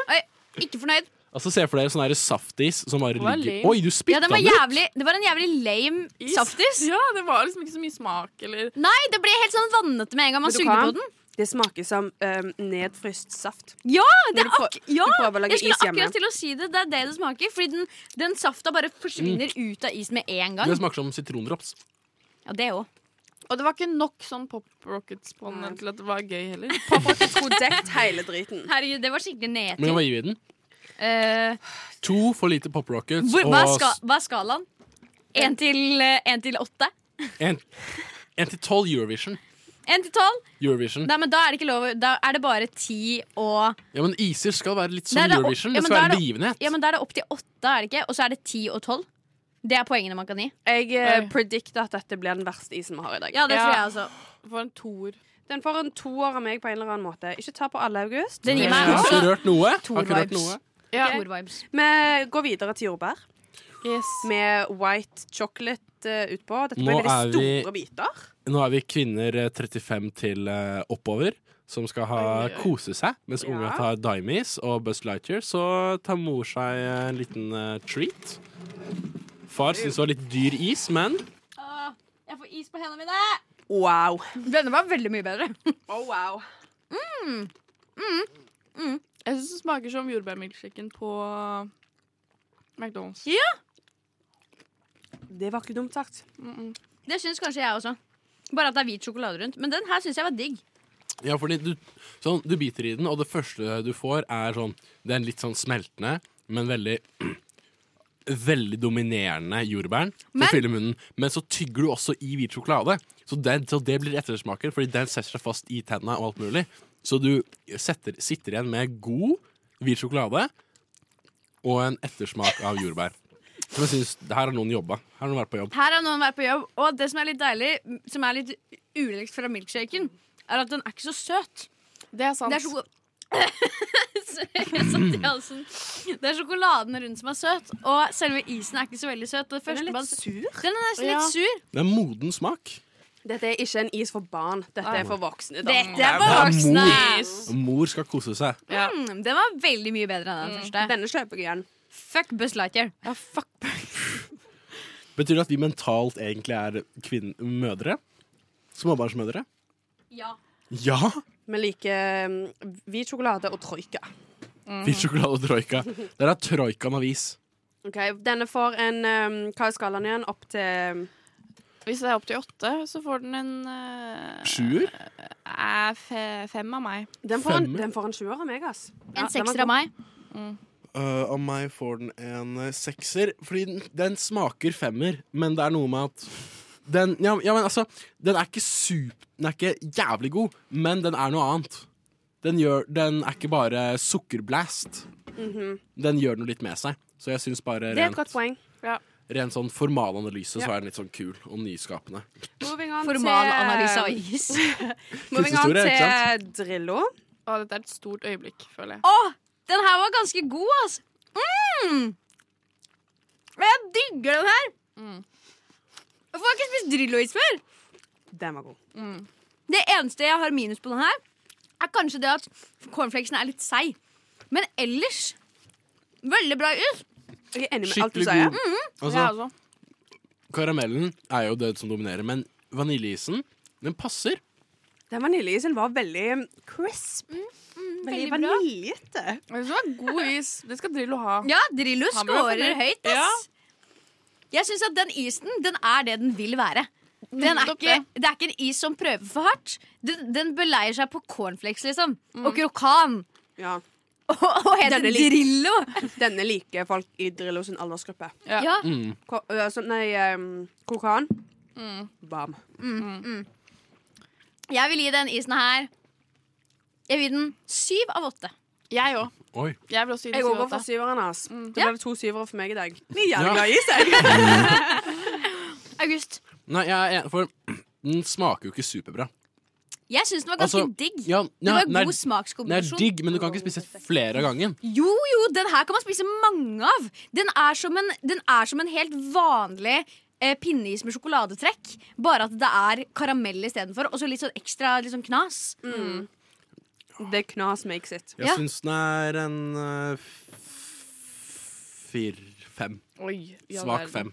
S5: Ikke fornøyd.
S1: Altså, Se for dere sånn her saftis som bare
S6: Hva er
S1: ligger
S6: det?
S1: Oi, du
S5: Ja,
S1: spytta
S5: den var
S1: den ut!
S5: jævlig, det var en jævlig lame
S6: Is?
S5: saftis.
S6: Ja, det var liksom ikke så mye smak, eller
S5: Nei, det ble helt sånn vannete med en gang man
S7: Vet du
S5: sugde
S7: hva?
S5: på den.
S7: Det smaker som um, nedfryst saft.
S5: Ja, det
S7: Når
S5: er
S7: du får-
S5: ak ja,
S7: du prøver å lage
S5: jeg skulle
S7: is hjemme.
S5: akkurat til å si det. Det er det det smaker. Fordi den, den safta bare forsvinner ut av isen med en gang.
S1: Det smaker som sitrondrops.
S5: Ja, det òg.
S6: Og det var ikke nok sånn pop rockets på den til at det var gøy [laughs] heller.
S7: Tror dekt hele driten.
S5: Herregud, det var skikkelig nedtur.
S1: Men hva gir vi den?
S5: Eh,
S1: To for lite pop rockets
S5: hvor, hva, er
S1: og
S5: ska, hva er skalaen? Én til, eh, en til åtte?
S1: en, en til tolv Eurovision.
S5: Én til tolv?
S1: Eurovision.
S5: Nei, men da er det ikke lov å- Da er det bare ti og
S1: Ja, men Isis skal være litt
S5: Nei,
S1: som
S5: det er opp-
S1: Eurovision.
S5: ja,
S1: Det
S5: men
S1: skal
S5: da er
S1: være
S5: det-
S1: begivenhet.
S5: Ja, men da er det opp til åtte, er det ikke? Og så er det ti og tolv. Det er poengene man kan gi.
S7: Jeg eh,
S6: Oi.
S7: predicter at dette blir den verste isen vi har i dag.
S5: Ja, det
S6: Ja.
S5: tror jeg altså.
S6: Det var en toer.
S7: Den får en toer av meg på en eller annen måte. Ikke ta på alle, August.
S5: Den gir
S1: Jeg
S5: meg
S1: har ikke
S5: også
S1: rørt noe.
S5: Tor
S1: Har ikke rørt
S5: vibes.
S1: noe.
S6: Ja.
S5: Tor-vibes.
S7: Vi går videre til jordbær
S6: Yes.
S7: med white chocolate eh, utpå. Dette
S1: Nå
S7: blir
S1: er
S7: veldig
S1: vi-
S7: store biter.
S1: Nå er vi kvinner eh, 35 til eh, oppover som skal ha
S6: Oi, oi, oi.
S1: kose seg. Mens
S7: Ja.
S1: unga tar Dimes og Buzz Lightyear, så tar mor seg eh, en liten eh, treat. Far syns det var litt dyr is, men
S5: Jeg får is på hendene mine!
S7: Wow.
S5: Denne var veldig mye bedre.
S7: Oh, wow.
S6: Jeg syns det smaker som jordbærmilkshaken på uh, McDonald's.
S7: Det var ikke dumt sagt.
S5: Det syns kanskje jeg også. Bare at det er hvit sjokolade rundt. Men den her syns jeg var digg.
S1: Ja, fordi du, sånn, du biter i den, og det første du får, er sånn Det er en litt sånn smeltende, men veldig [clears throat] Veldig dominerende jordbæren som
S5: Men-
S1: fyller munnen. Men så tygger du også i hvit sjokolade. Så, den, så det blir ettersmaken, fordi den setter seg fast i tennene og alt mulig. Så du setter, sitter igjen med god hvit sjokolade og en ettersmak av jordbær. Som jeg synes, Her har noen jobba. Her har noen vært på jobb.
S5: Her har noen vært på jobb, og det som er litt deilig, som er litt ulikt fra milkshaken, er at den er ikke så søt.
S6: Det er sant.
S5: Det er sjoko- [laughs] Sorry, jeg satt i halsen. Det er sjokoladen rundt som er søt, og selve isen er ikke så veldig søt. og Det første man
S7: sur.
S5: Den er nesten
S6: Ja.
S5: litt sur.
S1: Det er moden smak.
S7: Dette er ikke en is for barn. Dette er for voksne. Da.
S5: Dette er for voksne.
S1: Mor skal kose seg.
S6: Ja.
S5: Mm, Den var veldig mye bedre
S7: Mm.
S5: enn den første.
S7: Denne kjøper jeg igjen.
S5: Fuck Buzz Lightyear.
S6: ja, fuck.
S1: Betyr det at vi mentalt egentlig er kvinn- mødre? Småbarnsmødre?
S5: Ja.
S1: Ja!
S7: Vi liker mm, hvit sjokolade og troika.
S1: Hvit sjokolade og troika. Der er troikaen avis.
S7: Ok, Denne får en um, Hva er skalaen igjen? Opp til
S6: Hvis det er opp til åtte, så får den en eh,
S1: Sjuer?
S6: eh, fe, fem av meg.
S7: Den får en,
S1: Femmer.
S7: den får en sjuer av meg, ass. Ja,
S5: En
S7: den var
S5: sekser av meg.
S1: av Eh, meg får den en eh, sekser. Fordi den, den smaker femmer, men det er noe med at den, ja, ja, men altså, den er ikke sup... Den er ikke jævlig god, men den er noe annet. Den, gjør, den er ikke bare sukkerblast. Den gjør noe litt med seg. Så jeg syns bare
S7: god. Det er et
S1: rent,
S7: godt poeng.
S1: rent sånn formalanalyse så
S7: Ja.
S1: er den litt sånn kul og nyskapende.
S7: Moving on
S5: Formalanalyse av
S7: til,
S5: is. [laughs]
S7: moving on
S1: Kunsthistorie, ikke
S7: til Drillo.
S6: Å, dette er et stort øyeblikk, føler jeg.
S5: Å, den her var ganske god, altså. Mm. Og Jeg digger den her.
S7: Mm.
S5: Hvorfor har jeg ikke spist Drillo-is før?
S7: Den var god.
S5: Det eneste jeg har minus på den her, er kanskje det at cornflakesen er litt seig. Men ellers veldig bra is.
S7: Jeg er enig med alt du
S1: Skikkelig
S7: sier.
S1: god. Altså,
S6: Ja, altså.
S1: Karamellen er jo det som dominerer, men vaniljeisen den passer.
S7: Den vaniljeisen var veldig crisp. Mm, veldig
S5: veldig bra.
S7: vaniljete.
S6: Jeg synes det var god is. Det skal Drillo ha.
S5: Ja, Drillo
S6: Han ble
S5: scorer
S6: fornøyd.
S5: høyt, ass. Jeg syns at den isen, den er det den vil være. Den er
S6: Nettopp
S5: ikke, Mm, det er ikke en is som prøver for hardt. Den, den beleier seg på cornflakes, liksom. Og krokan.
S7: Ja.
S5: Mm. [laughs] Og, og heter
S7: Denne liker-
S5: Drillo!
S7: Denne liker folk i Drillo sin aldersgruppe.
S6: Ja.
S5: Ja.
S1: Mm.
S7: Ko øh, sånn, nei, um, kokan.
S5: Mm.
S7: Bam.
S5: Jeg vil gi den isen her Jeg vil gi den syv av åtte.
S6: Jeg òg.
S1: Oi.
S6: Jeg vil også gi
S7: Jeg
S6: det
S7: går for
S6: 7-8.
S7: syveren hans. Da
S5: Mm. Ja.
S7: ble det to syvere for meg i dag. Ni jævlig
S1: Ja.
S7: glad i seg.
S5: August,
S1: Nei, jeg er enig, for den smaker jo ikke superbra.
S5: jeg syns den var ganske
S1: Altså,
S5: digg.
S1: Ja,
S5: det var
S1: den er-
S5: god
S1: den er
S5: smakskombinasjon.
S1: digg, men du kan ikke spise flere av gangen.
S5: Jo, jo, den her kan man spise mange av. Den er som en, den er som en helt vanlig eh, pinneis med sjokoladetrekk. Bare at det er karamell istedenfor, og så litt sånn ekstra litt sånn knas.
S7: Det knas makes it.
S1: Jeg
S5: Ja.
S1: syns den er en eh, f- fir- fem.
S6: Oi, ja,
S1: Svak fem.
S6: verden.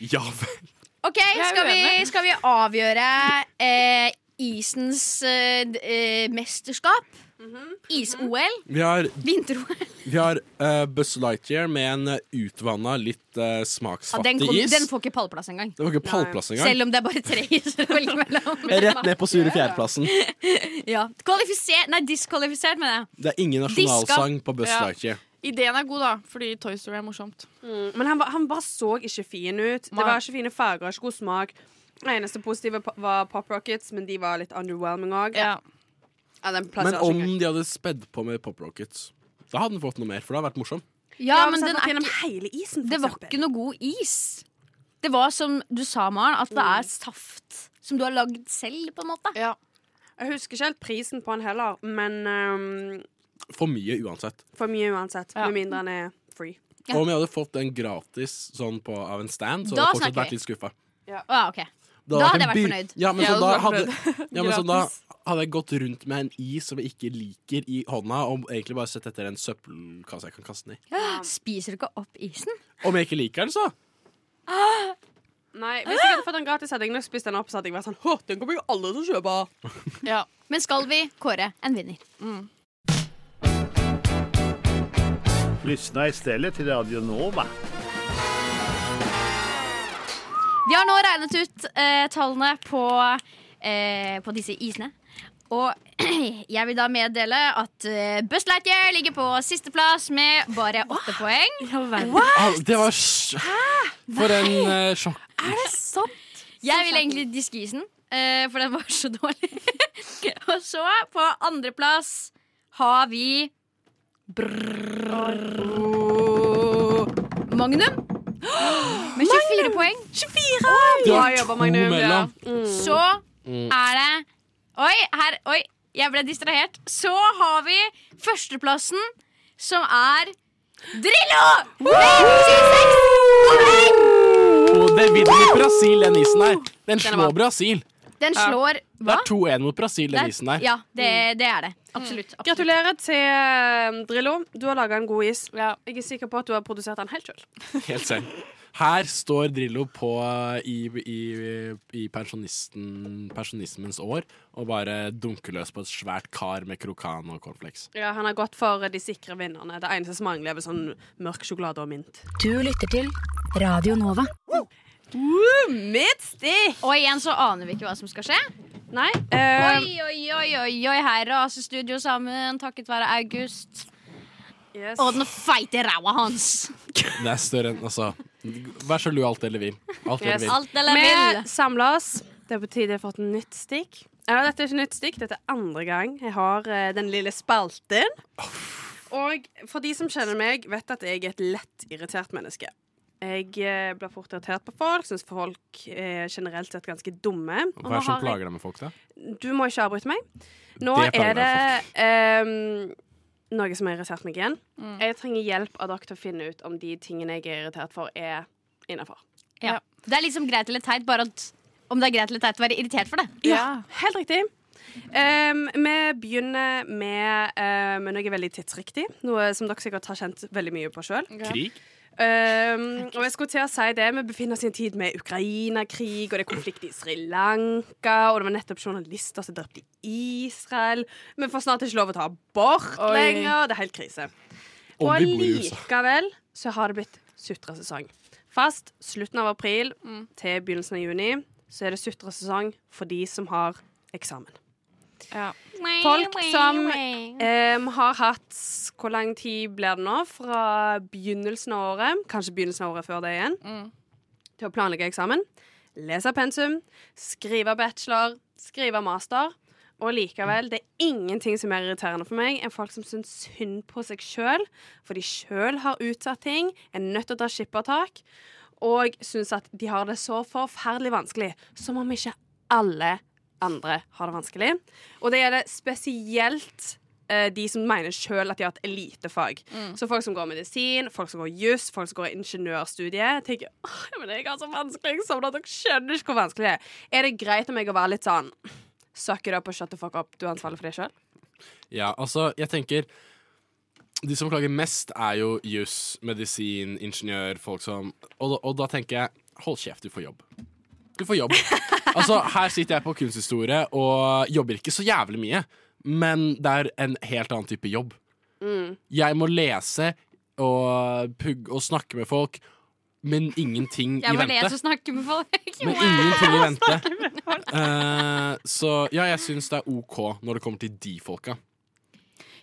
S1: Ja vel. [laughs]
S5: OK,
S6: er
S5: skal vi,
S6: uenig.
S5: skal vi avgjøre eh, isens eh, d- eh, mesterskap? Mhm. Is-OL?
S1: Vi har,
S5: Vinter-OL?
S1: vi har eh, Buzz Lightyear med en eh, utvanna, litt eh,
S5: Ja,
S1: smaksfattig
S5: den, kom,
S1: is.
S5: den får ikke pallplass engang.
S1: Det var ikke pallplass engang.
S5: Selv om det er bare tre iser å velge mellom.
S1: [laughs] Rett ned på sure fjerdeplassen.
S5: Ja. Kvalifisert, nei, diskvalifisert, mener jeg.
S1: Det er ingen nasjonalsang på Buzz
S6: Ja.
S1: Lightyear.
S6: Ideen er god, da, fordi Toy Story er morsomt.
S7: Men han, ba- han bare så ikke fin ut. Det
S6: Nei.
S7: var ikke fine farger, ikke god smak. Det eneste positive po- var Pop Rockets, men de var litt underwhelming òg.
S6: Ja.
S1: Men om de hadde spedd på med Pop Rockets, da hadde den fått noe mer, for det hadde vært morsomt.
S5: Ja, men den er
S7: gjennom
S5: ikke,
S7: hele isen, for
S5: det var
S7: eksempel.
S5: ikke noe god is. Det var som du sa, Maren, at det er saft som du har lagd selv, på en måte.
S6: ja.
S7: Jeg husker ikke helt prisen på den heller, men ehm,
S1: For mye uansett.
S7: for mye uansett.
S6: Ja.
S7: Med mindre den er free.
S5: Ja.
S1: Og om jeg hadde fått den gratis sånn på, av en stand, så hadde
S5: Da
S1: jeg fortsatt
S5: snakker
S1: vært litt skuffa.
S5: Å, ja, ok.
S1: Det
S5: Da
S1: hadde
S5: hadde jeg
S1: en
S5: vært
S1: by- Ja, men,
S6: Jeg
S1: så da
S6: hadde
S1: hadde,
S6: vært
S1: ja, men så da
S6: Gratis.
S1: hadde jeg gått rundt med en is som jeg ikke liker, i hånda, og egentlig bare sett etter en søppelkasse jeg kan kaste den i.
S5: Spiser du ikke opp isen?
S1: Om jeg ikke liker den, så.
S7: Nei, Hvis jeg hadde fått den gratis, hadde jeg nok spist den opp. Så hadde jeg vært sånn, «Hå, den kommer jo alle til å kjøpe
S6: ja.
S5: Men skal vi kåre en vinner?
S10: Lyssna istället till Radio Nova.
S5: Vi har nå regnet ut eh, tallene på, eh, på disse isene. Og [clears throat] jeg vil da meddele at eh, Buzz Lightyear ligger på sisteplass med bare åtte poeng.
S1: Au, Ah, Det var sj- For en eh, sjokk.
S5: Jeg vil egentlig diske isen, eh, for den var så dårlig. [laughs] Og så, på andreplass, har vi brrrr, Magnum. Med 24 poeng.
S1: Det
S7: Bra
S1: var to
S7: jobba, Magnum, ja.
S1: mellom.
S5: Så
S1: Mm.
S5: er det Oi, her, oi, jeg ble distrahert. Så har vi førsteplassen, som er Drillo! Med 26 poeng!
S1: Og det vinner Brasil, den isen der. Den slår Brasil.
S5: Den slår
S1: Det
S5: hva?
S1: er 2-1 mot Brasil, den isen der.
S5: Ja, det, det er det. Absolutt. absolutt.
S7: Gratulerer til eh, Drillo. Du har laga en god is.
S6: ja.
S7: Jeg er sikker på at du har produsert den helt sjøl.
S1: [laughs] Helt selv. Her står Drillo på eh, i, i, i pensjonisten, pensjonismens år og bare dunker løs på et svært kar med krokan og cornflakes.
S7: Ja, han har gått for de sikre vinnerne. Det eneste som mangler, er vel sånn mørk sjokolade og mint.
S2: Du lytter til Radio Nova.
S7: Midtstick!
S5: Og igjen så aner vi ikke hva som skal skje.
S7: Nei. eh,
S5: Oi, oi, oi, oi, oi her raser studio sammen takket være August.
S7: yes.
S5: Og den feite ræva hans.
S1: Det er større enn altså Vær så snill, alt eller vin. Alt eller
S7: Yes.
S1: vin.
S5: Alt eller vil.
S7: Vi samler oss. Det er på tide for et nytt stikk. Eller, dette er ikke nytt stikk, dette er andre gang jeg har eh, den lille spalten. Og for de som kjenner meg, vet at jeg er et lett irritert menneske. Jeg eh, blir fort irritert på folk, syns folk er generelt sett ganske dumme. Og
S1: Hva er
S7: nå
S1: det som
S7: har jeg-
S1: plager deg med folk, da?
S7: Du må ikke avbryte meg. Nå
S1: Det plager
S7: er det ehm, noe som har irritert meg igjen.
S5: Mm.
S7: Jeg trenger hjelp av dere til å finne ut om de tingene jeg er irritert for, er innafor.
S5: Ja. Det er liksom greit eller teit, bare at om det er greit eller teit å være irritert for det.
S7: Ja, helt riktig. Ehm, vi begynner med, eh, med noe veldig tidsriktig. Noe som dere sikkert har kjent veldig mye på sjøl.
S1: Krig?
S7: og jeg skulle til å si det, vi befinner oss i en tid med Ukraina-krig, og det er konflikt i Sri Lanka, og det var nettopp journalister som drepte i Israel. Vi får snart ikke lov å ta abort
S6: Oi.
S7: lenger. Det er helt krise.
S1: Om vi
S7: Og
S1: bor i USA.
S7: allikevel så har det blitt sutresesong. Fast slutten av april til begynnelsen av juni så er det sutresesong for de som har eksamen.
S6: ja.
S7: Folk som em, har hatt Hvor lang tid blir det nå? Fra begynnelsen av året, kanskje begynnelsen av året før det igjen, til å planlegge eksamen. Lese pensum, skrive bachelor, skrive master. Og likevel, det er ingenting som er irriterende for meg enn folk som syns synd på seg sjøl, for de sjøl har utsatt ting, er nødt til å ta skippertak, og syns at de har det så forferdelig vanskelig. Som om ikke alle andre har det vanskelig. Og det gjelder spesielt eh, de som mener sjøl at de har et elitefag.
S6: Mm.
S7: Så folk som går medisin, folk som går juss, folk som går ingeniørstudiet. tenker «Åh, men jeg har så vanskelig eksamen at dere skjønner ikke hvor vanskelig det er. Er det greit om jeg kan være litt sånn Suck it up og shut the fuck up. Du er ansvarlig for det sjøl?
S1: Ja, altså, jeg tenker De som klager mest, er jo juss, medisin, ingeniør, folk som og, da- og da tenker jeg hold kjeft, du får jobb. Du får
S5: [laughs]
S1: jobb. altså, her sitter jeg på kunsthistorie og jobber ikke så jævlig mye, men det er en helt annen type jobb.
S7: Mm.
S1: Jeg må lese og pugge og snakke med folk, men ingenting i
S5: Jeg må
S1: vente.
S5: lese og snakke med folk. [laughs]
S1: Men ingenting i vente. Eh, så ja, jeg syns det er OK når det kommer til de folka.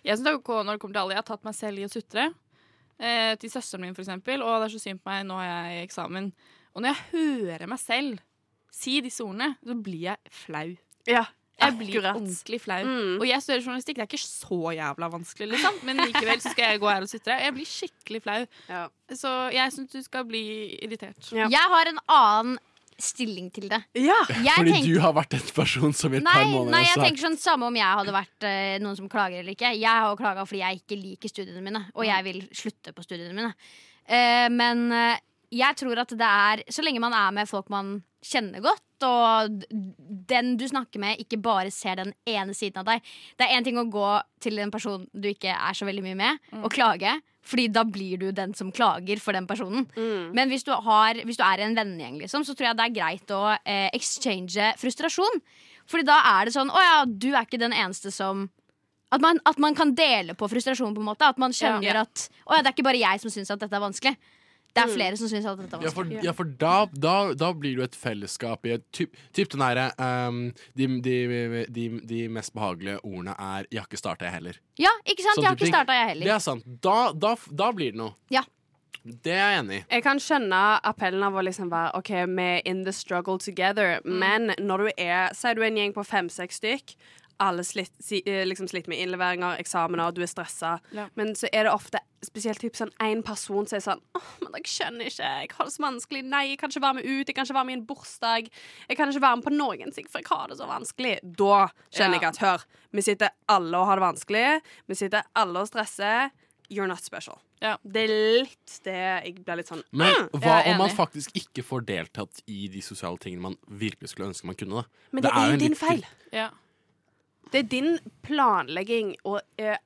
S6: Jeg synes det er ok når det kommer til alle. Jeg har tatt meg selv i å sutre. Eh, til søsteren min, for eksempel. Å, det er så synd på meg, nå har jeg eksamen. Og når jeg hører meg selv si disse ordene, så blir jeg flau.
S7: Ja,
S6: jeg blir
S7: akkurat.
S6: ordentlig flau.
S7: Mm.
S6: Og jeg studerer journalistikk, det er ikke så jævla vanskelig, liksom. Men likevel så skal jeg gå her og sutre. Jeg blir skikkelig flau. Så jeg syns du skal bli irritert.
S5: Jeg har en annen stilling til det. Jeg
S1: Fordi
S5: tenker-
S1: du har vært en person som i et par
S5: Nei,
S1: måneder
S5: nei, jeg
S1: har
S5: tenker sånn samme om jeg hadde vært eh, noen som klager eller ikke. Jeg har jo klaga fordi jeg ikke liker studiene mine, og jeg vil slutte på studiene mine. Eh, men eh, jeg tror at det er Så lenge man er med folk man kjenner godt, og d- den du snakker med, ikke bare ser den ene siden av deg. Det er én ting å gå til en person du ikke er så veldig mye med,
S1: Mm.
S5: og klage. Fordi da blir du den som klager for den personen.
S1: Mm.
S5: Men hvis du, har, hvis du er i en vennegjeng, liksom, så tror jeg det er greit å eh, exchange frustrasjon. Fordi da er det sånn Å ja, du er ikke den eneste som at man, at man kan dele på frustrasjon, på en måte. At man kjenner
S6: Ja.
S5: at Å ja, Mm. det er ikke bare jeg som syns at dette er vanskelig. Det er flere som syns at dette er
S1: Ja, for,
S5: vanskelig.
S1: ja, for da, da, da blir du et fellesskap i et typ, typ den derre ehm, de, de, de, de mest behagelige ordene er 'jeg har ikke starta, jeg heller'.
S5: Ja, ikke sant?
S1: Sånn
S5: Jeg har
S1: type
S5: ikke
S1: ting.
S5: starta,
S1: Det
S5: jeg heller.
S1: er sant. Da, da, f- da blir det noe.
S5: Ja.
S1: Det er jeg enig i.
S7: Jeg kan skjønne appellen av å liksom være OK, vi er in the struggle together,
S6: Mm.
S7: men når du er Si du er en gjeng på fem-seks stykk. Alle slitt, si, eh, liksom sliter med innleveringer, eksamener, du er stressa.
S6: Ja.
S7: Men så er det ofte spesielt typ sånn én person som er sånn Åh, men jeg skjønner ikke. Jeg har det så vanskelig. Nei, jeg kan ikke være med ut. Jeg kan ikke være med i en bursdag. Jeg kan ikke være med på noen ting, for jeg har det så vanskelig. Da skjønner jeg
S6: Ja.
S7: at hør, vi sitter alle og har det vanskelig. Vi sitter alle og stresser. You're not special.
S6: Ja.
S7: Det er litt det jeg blir litt sånn
S1: Men
S7: «Mm».
S1: hva
S6: jeg er
S1: om man
S6: enig.
S1: faktisk ikke får deltatt i de sosiale tingene man virkelig skulle ønske man kunne? Da?
S7: Men det,
S1: jo
S7: er
S1: en
S7: jo din
S1: litt-
S7: feil.
S6: Ja.
S7: Det er din planlegging og eh,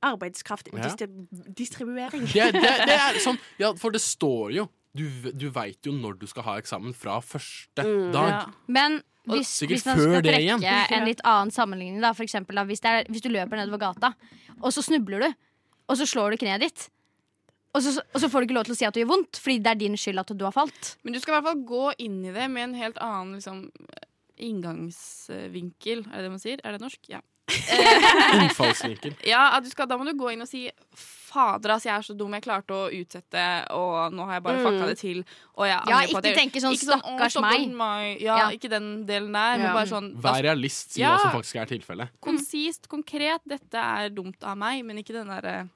S7: arbeidskraft og
S1: Ja.
S7: distri- distribuering.
S1: [laughs] Det, er- det, er-
S7: [laughs]
S1: det er sånn, ja, for det står jo Du, v- du veit jo når du skal ha eksamen fra første
S5: Mm,
S1: dag.
S6: Ja.
S5: Men
S1: Og
S5: hvis,
S1: sikkert
S5: hvis man
S1: før
S5: skal
S1: det
S5: trekke [laughs]
S1: igjen.
S5: en litt annen sammenligning, da, for eksempel, da, hvis, det er, hvis du løper nedover gata, og så snubler du, og så slår du kneet ditt, og så, og så får du ikke lov til å si at det gjør vondt, fordi det er din skyld at du har falt.
S6: Men du skal i hvert fall gå inn i det med en helt annen liksom, inngangsvinkel. Er det det man sier? Er det norsk? Ja.
S1: Innfallsvinkel.
S6: Ja, at du skal, Da må du gå inn og si Fader, ass, jeg er så dum. Jeg klarte å utsette, og nå har jeg bare
S7: Mm.
S6: fucka det til. Og jeg
S5: Ja,
S6: angrer på
S5: ikke
S6: at jeg-
S5: tenke sånn,
S6: «Å,
S5: stakkars meg».
S6: meg. Ja,
S5: Ja.
S6: Ikke den delen der, men
S7: Ja.
S6: bare sånn
S1: Vær
S6: altså,
S1: realist, si
S6: Ja.
S1: hva som faktisk er tilfellet.
S6: konsist, konkret. Dette er dumt av meg, men ikke den derre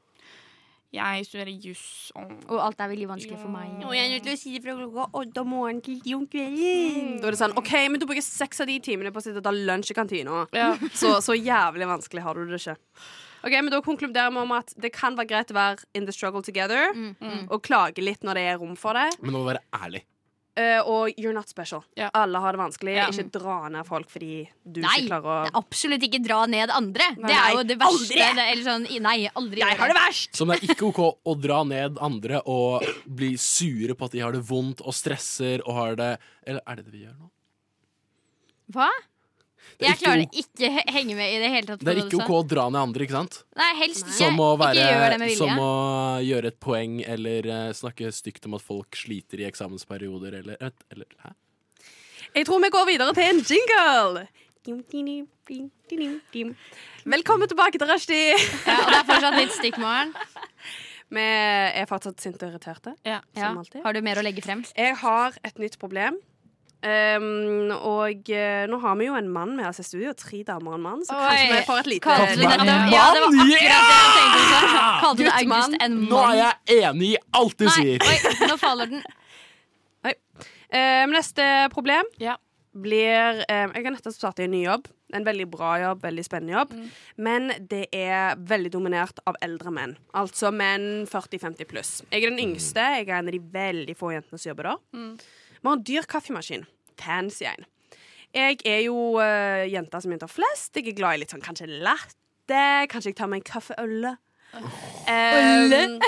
S6: Jeg studerer juss. og-
S5: Og alt er veldig vanskelig for meg.
S7: til å si det fra klokka åtte om morgenen til ti om kvelden. Da er det sånn OK, men du bruker seks av de timene på å sitte og ta lunsj i kantina.
S6: Ja.
S7: Så, så jævlig vanskelig har du det ikke. Ok, men Da konkluderer vi om at det kan være greit å være in the struggle together og klage litt når det er rom for det.
S1: Men du må være ærlig.
S7: Eh, og you're not special.
S6: Ja.
S7: Alle har det vanskelig.
S6: Ja.
S7: Ikke dra ned folk fordi du
S5: Nei,
S7: ikke klarer å
S5: det er absolutt ikke dra ned andre. det
S7: nei,
S5: er jo det verste.
S7: aldri!
S5: Det, eller sånn, i- nei, aldri. gjør
S7: verst!
S1: Som det er ikke OK å dra ned andre og bli sure på at de har det vondt og stresser og har det Eller er det det vi gjør nå?
S5: Hva?
S1: Det er
S5: Jeg
S1: ikke
S5: klarer
S1: ok.
S5: ikke he- henge med i det hele tatt.
S1: Det er
S5: på hva du
S1: ikke OK
S5: sa.
S1: å dra ned andre, ikke sant?
S5: Nei, helst ikke.
S1: Som å,
S5: ikke gjør det med
S1: være,
S5: vilje.
S1: som å gjøre et poeng eller eh, snakke stygt om at folk sliter i eksamensperioder eller, et- eller Hæ?
S7: Jeg tror vi går videre til en jingle. Velkommen tilbake til rushtid!
S5: Ja, og det er fortsatt litt stikkmorgen.
S7: Vi er fortsatt sinte og irriterte,
S5: Ja.
S7: som alltid.
S5: Har du mer å legge frem?
S7: Jeg har et nytt problem. Ehm, og eh, nå har vi jo en mann med oss i studio, og tre damer og en mann, så kanskje vi får et lite
S5: Kalte du nettopp- Ja, det var akkurat det jeg tenkte også. Kalte du August en mann?
S1: Nå er jeg enig i alt du
S5: Nei,
S1: sier.
S5: oi, nå faller den.
S7: Ehm, neste problem blir ehm, Jeg har nettopp startet i en ny jobb. En veldig bra jobb, veldig spennende jobb. Men det er veldig dominert av eldre menn. Altså menn 40-50 pluss. Jeg er den yngste. Jeg er en av de veldig få jentene som jobber der. Vi har en dyr kaffemaskin. Fancy en. Jeg er jo eh, jenta som jenter flest. Jeg er glad i litt sånn kanskje latte. Kanskje jeg tar meg en kaffeølle. Um,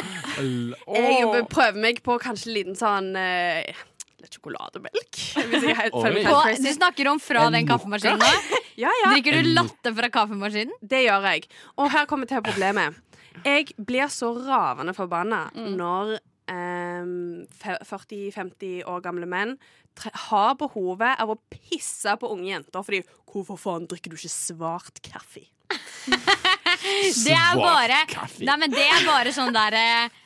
S7: jeg prøver meg på kanskje en liten sånn eh, litt sjokolademelk. [laughs] Hvis jeg er helt
S5: Oi.
S7: føler meg
S5: På,
S7: helt crazy.
S5: du snakker om fra
S7: En
S5: den kaffemaskinen nå?
S7: Ja, [laughs] ja.
S5: Drikker du latte fra kaffemaskinen?
S7: Det gjør jeg. Og her kommer til problemet. Jeg blir så ravende forbanna når em, fe- 40-50 år gamle menn tre har behovet av å pisse på unge jenter fordi 'Hvorfor faen drikker du ikke svart kaffe?'
S5: Det er bare,
S7: kaffe.
S5: nei, men det er bare sånn der eh,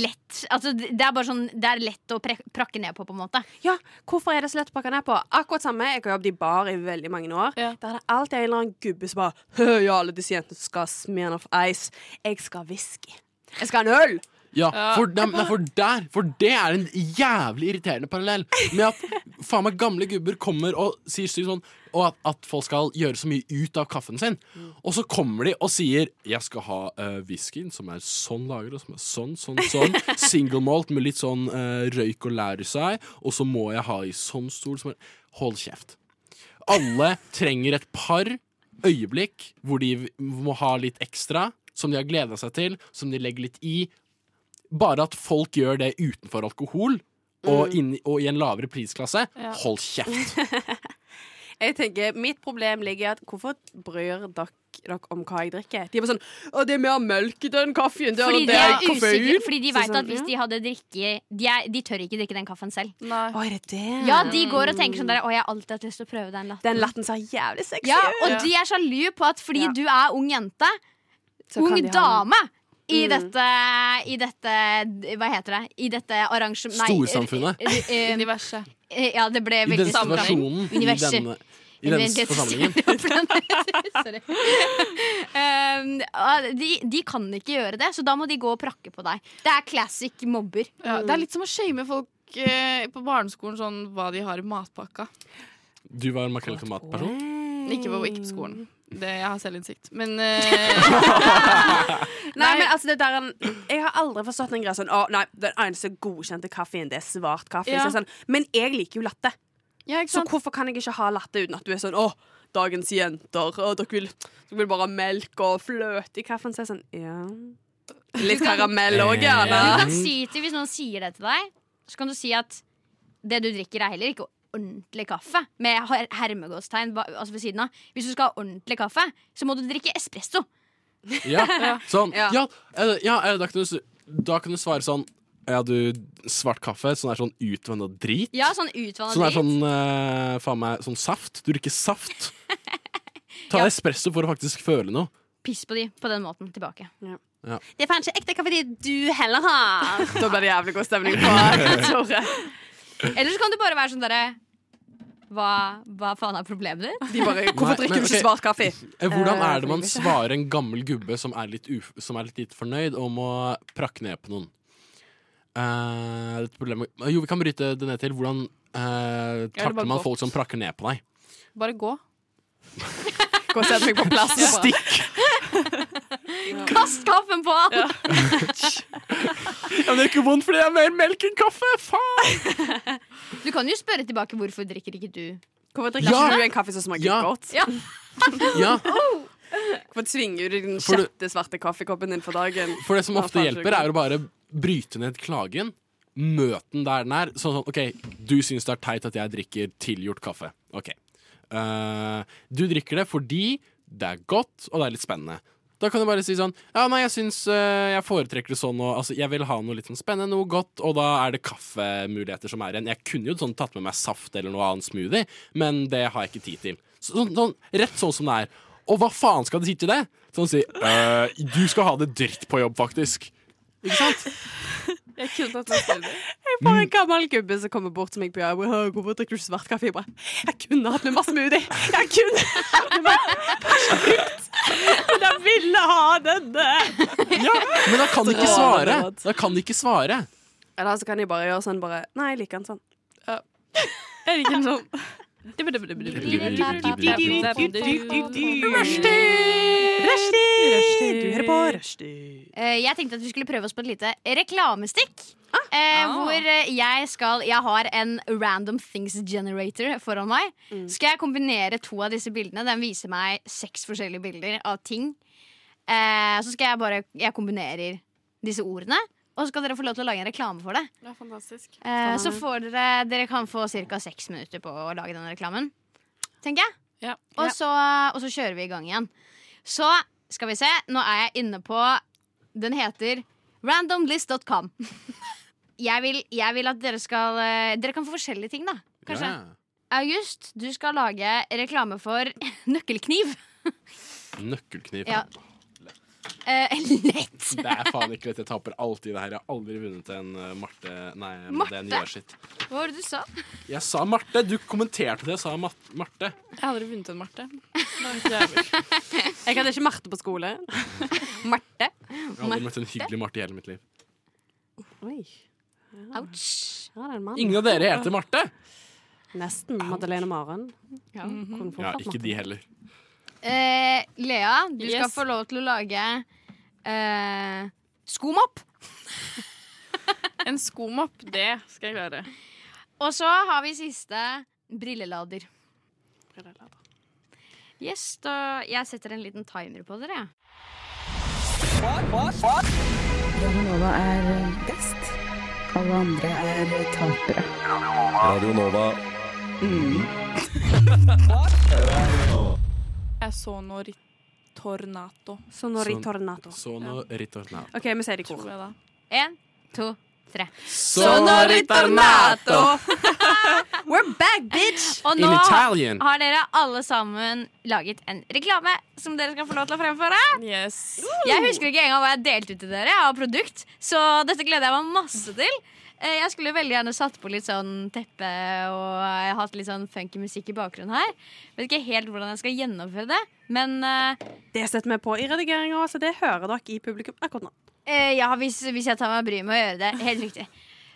S5: Lett. Altså, det er bare sånn Det er lett å pre prakke ned på, på en måte.
S7: Ja, hvorfor er det så lett å pakke ned på? Akkurat samme, jeg har jobbet i bar i veldig mange år. Der er det alltid en eller annen gubbe som bare «Hø, Ja, alle disse jentene skal smirne off ice. Jeg skal ha whisky. Jeg skal ha en øl.
S1: Ja, for, dem- nei, for der For det er en jævlig irriterende parallell. Med at faen meg gamle gubber kommer og sier stygt sånn Og at, at folk skal gjøre så mye ut av kaffen sin. Og så kommer de og sier 'Jeg skal ha eh, whiskyen som er sånn lagret, som er sånn, sånn, sånn'. Single malt med litt sånn eh, røyk og lær i seg. Og så må jeg ha i sånn stol som er Hold kjeft. Alle trenger et par øyeblikk hvor de v- må ha litt ekstra, som de har gleda seg til, som de legger litt i. Bare at folk gjør det utenfor alkohol og, inn, og i en lavere prisklasse.
S7: Ja.
S1: Hold
S5: [laughs]
S1: kjeft!
S7: Jeg tenker, Mitt problem ligger i at hvorfor bryr dere dere om hva jeg drikker? De er bare sånn 'Å, det er mer melk i den kaffen. Det
S5: Fordi
S7: er,
S5: de,
S7: det
S5: er
S7: er koffein.'
S5: usikre, fordi de
S7: Så
S5: vet
S7: sånn,
S5: at hvis de hadde drikke De, er, de tør ikke drikke den kaffen selv.
S6: Sånn,
S7: Å, er det det?
S5: Ja, de går og tenker sånn der Å, jeg har alltid hatt lyst til å prøve den latten.
S7: Den latten ser jævlig sexy
S5: Ja,
S7: ut.
S5: og de er sjalu på at fordi du er ung jente,
S7: Så kan
S5: ung
S7: de ha den.
S5: dame i
S7: Mm.
S5: dette, I dette Hva heter det? I dette arrangementet
S1: Storsamfunnet.
S6: Universet.
S5: Ja, det ble
S1: I
S5: veldig
S1: denne situasjonen, i
S5: Universet.
S1: denne, i denne
S5: [laughs]
S1: forsamlingen.
S5: Sorry. Um, ah, de, de kan ikke gjøre det, så da må de gå og prakke på deg. Det er classic mobber.
S6: Ja, det er litt som å shame folk eh, på barneskolen sånn hva de har i matpakka.
S1: Du var makrell til matperson?
S5: Mm.
S6: Ikke på, ikke på skolen. Det, jeg har selvinnsikt. [laughs] Men eh,
S7: Nei, men altså det der en, Jeg har aldri forstått den greia sånn Å nei, den eneste godkjente kaffen Det er svart kaffe
S6: Ja.
S7: Så sånn, Men jeg liker jo latte Så
S6: sant?
S7: hvorfor kan jeg ikke ha latte uten at du er sånn Å, dagens jenter å, dere, vil, dere vil bare ha melk og fløte i kaffen Så er jeg sånn, ja Litt karamell
S1: Eh.
S7: også,
S5: Du kan
S7: gjerne
S5: si til, Hvis noen sier det til deg, så kan du si at det du drikker, er heller ikke ordentlig kaffe. Med her- hermegåstegn ba- altså ved siden av. Hvis du skal ha ordentlig kaffe, så må du drikke espresso.
S1: Ja. Sånn.
S5: [laughs] Ja.
S1: Ja, eh, ja eh, da, kan du, s- da kan du svare sånn Ja, du, svart kaffe. Sånn er sånn utvanna drit.
S5: Ja, sånn utvanna
S1: Sånn er
S5: drit.
S1: sånn eh, faen meg sånn saft. Du drikker
S5: [laughs]
S1: saft. Ta deg espresso for å faktisk føle noe.
S5: Piss på de på den måten tilbake.
S1: Ja.
S7: Det er faen ikke ekte kaffe det du heller har Da blir det jævlig god stemning på kontoret
S5: Eller så kan du bare være sånn derre hva, hva faen er problemet ditt?
S7: De bare,
S1: Nei,
S7: hvorfor drikker
S1: men
S7: du ikke
S1: ok.
S7: svart kaffe?
S1: Eh, Hvordan er det man
S7: Eh,
S1: svarer en gammel gubbe som er litt, uf som er litt lite fornøyd, og må prakke ned på noen? Eh, et problem eh, Jo, vi kan bryte det ned til. Hvordan eh,
S6: Ja, det var
S1: takler man
S6: godt.
S1: folk som prakker ned på deg?
S6: bare gå.
S7: Gå og sett meg på
S1: [laughs]
S7: plass
S5: Kast kaffen på han!
S1: Ja, men det er ikke vondt fordi det er mer melk enn kaffe! Faen!
S5: Du kan jo spørre tilbake hvorfor drikker ikke du
S7: Hvorfor
S1: drikker Ja. ikke du
S7: en kaffe som smaker
S1: Ja.
S7: godt?
S5: Ja.
S1: [laughs] Ja.
S7: Hvorfor tvinger du den
S1: For du-
S7: sjette svarte kaffekoppen din for dagen?
S1: For det som
S7: Nå
S1: ofte
S7: faen
S1: hjelper,
S7: skjønner
S1: er å bare bryte ned klagen. Møt den der den er. Sånn sånn, OK, du syns det er teit at jeg drikker tilgjort kaffe. OK. Eh, du drikker det fordi det er godt, og det er litt spennende. Da kan du bare si sånn Ja, nei, jeg syns eh, jeg foretrekker det sånn, og altså, jeg vil ha noe litt sånn spennende, noe godt, og da er det kaffemuligheter som er igjen. Jeg kunne jo sånn tatt med meg saft eller noe annet smoothie, men det har jeg ikke tid til. Sånn, sånn, rett sånn som det er. Og hva faen skal de si til det? Sånn si «Øh, Du skal ha det dritt på jobb, faktisk. Ikke sant?
S7: Jeg kunne tatt meg selv Jeg er bare en gammel gubbe som kommer bort til meg på jobb. «Åh, 'Hvorfor drikker du svart kaffe?' Jeg bare 'Jeg kunne hatt med masse smoothie'. Jeg kunne hatt med Men jeg ville ha denne.
S1: Men da kan de ikke
S7: Så-
S1: svare. Da kan de ikke svare.
S7: Eller så kan de bare gjøre sånn bare Nei, jeg liker den sånn.
S6: Jeg liker den sånn.
S7: Rushtid! Du hører på Rushtid.
S5: Eh, jeg tenkte at vi skulle prøve oss på et lite reklamestikk. eh,
S6: Ah.
S5: Hvor eh, jeg skal Jeg har en random things generator foran meg. Skal jeg kombinere to av disse bildene? Den viser meg seks forskjellige bilder av ting. Eh, så skal jeg bare Jeg kombinerer disse ordene. Og så skal dere få lov til å lage en reklame for det.
S6: Det er fantastisk.
S5: Eh, så får dere Dere kan få ca. seks minutter på å lage den reklamen. Tenker jeg.
S6: Ja.
S5: Og så, og så kjører vi i gang igjen. Så skal vi se. Nå er jeg inne på Den heter randomlist.com. [laughs] Jeg vil, jeg vil at dere skal eh, Dere kan få forskjellige ting, da. Kanskje.
S1: Ja.
S5: August, du skal lage reklame for [laughs] nøkkelkniv.
S1: Nøkkelkniv.
S5: Ja. Eh, lett!
S1: [laughs] Det er faen ikke lett. Jeg taper alltid det her. Jeg har aldri vunnet en eh, Marte Nei,
S5: Marte?
S1: det er en gjørsitt.
S5: Hva var det du sa?
S1: Jeg sa Marte. Du kommenterte det jeg sa Mat Marte.
S6: Jeg har aldri vunnet en Marte. Det er ikke jeg.
S7: Jeg hadde ikke Marte på skole.
S5: Marte.
S1: Jeg har aldri møtt en hyggelig Marte i hele mitt liv.
S7: Oi,
S5: Ouch.
S7: her er det en mann.
S1: Ingen av dere heter Marte!
S7: Nesten. Madeleine Maren.
S5: Ja.
S7: Kunne fort
S1: Ja,
S7: vært
S1: ikke
S7: Marte.
S1: de heller.
S5: Eh, Lea, du skal
S6: Yes.
S5: få lov til å lage eh, skomapp.
S6: En skomapp, det skal jeg klare.
S5: Og så har vi siste brillelader. Yes, da Jeg setter en liten timer på dere. jeg.
S8: Radionova er eh, best. Alle andre er eh, tapere.
S9: Radio Nova.
S6: Jeg så når tornato,
S7: Sonori
S1: Sånn.
S7: Tornato.
S1: Så nå ritorna.
S7: OK, vi sier det i kor.
S6: tror jeg da.
S5: En, to, tre.
S7: We're back, bitch!
S5: Og
S1: In
S5: nå
S1: Italian.
S5: har dere alle sammen laget en reklame som dere skal få lov til å fremføre.
S6: Yes.
S5: Jeg husker ikke engang hva jeg delte ut til dere av produkt, så dette gleder jeg meg masse til. Eh, Jeg skulle veldig gjerne satt på litt sånn teppe og jeg har hatt litt sånn funky musikk i bakgrunnen her. Vet ikke helt hvordan jeg skal gjennomføre det, men eh,
S7: Det setter vi på i redigeringa, så det hører dere i publikum akkurat nå.
S5: eh, ja, hvis, hvis jeg tar meg bryet med å gjøre det. Helt riktig.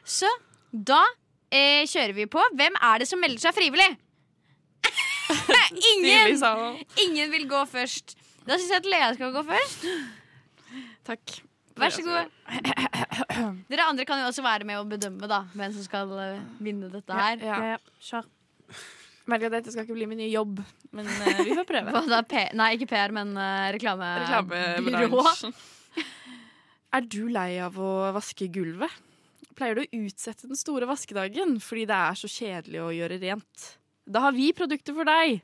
S5: Så da eh, kjører vi på. Hvem er det som melder seg frivillig?
S6: [laughs] Stilig
S5: ingen,
S6: sa hun.
S5: ingen vil gå først. Da syns jeg at Lea skal gå først.
S6: Takk.
S5: Vær så god. Dere andre kan jo også være med og bedømme da hvem som skal eh, vinne dette her.
S6: Ja.
S7: Ja, ja, kjør.
S6: Merker at dette skal ikke bli min nye jobb, men eh, vi får prøve.
S5: Hva da, P nei, ikke PR, men eh, reklamebyrå.
S6: Reklamebransjen. [laughs] Er du lei av å vaske gulvet? Pleier du å utsette den store vaskedagen fordi det er så kjedelig å gjøre rent? Da har vi produkter for deg.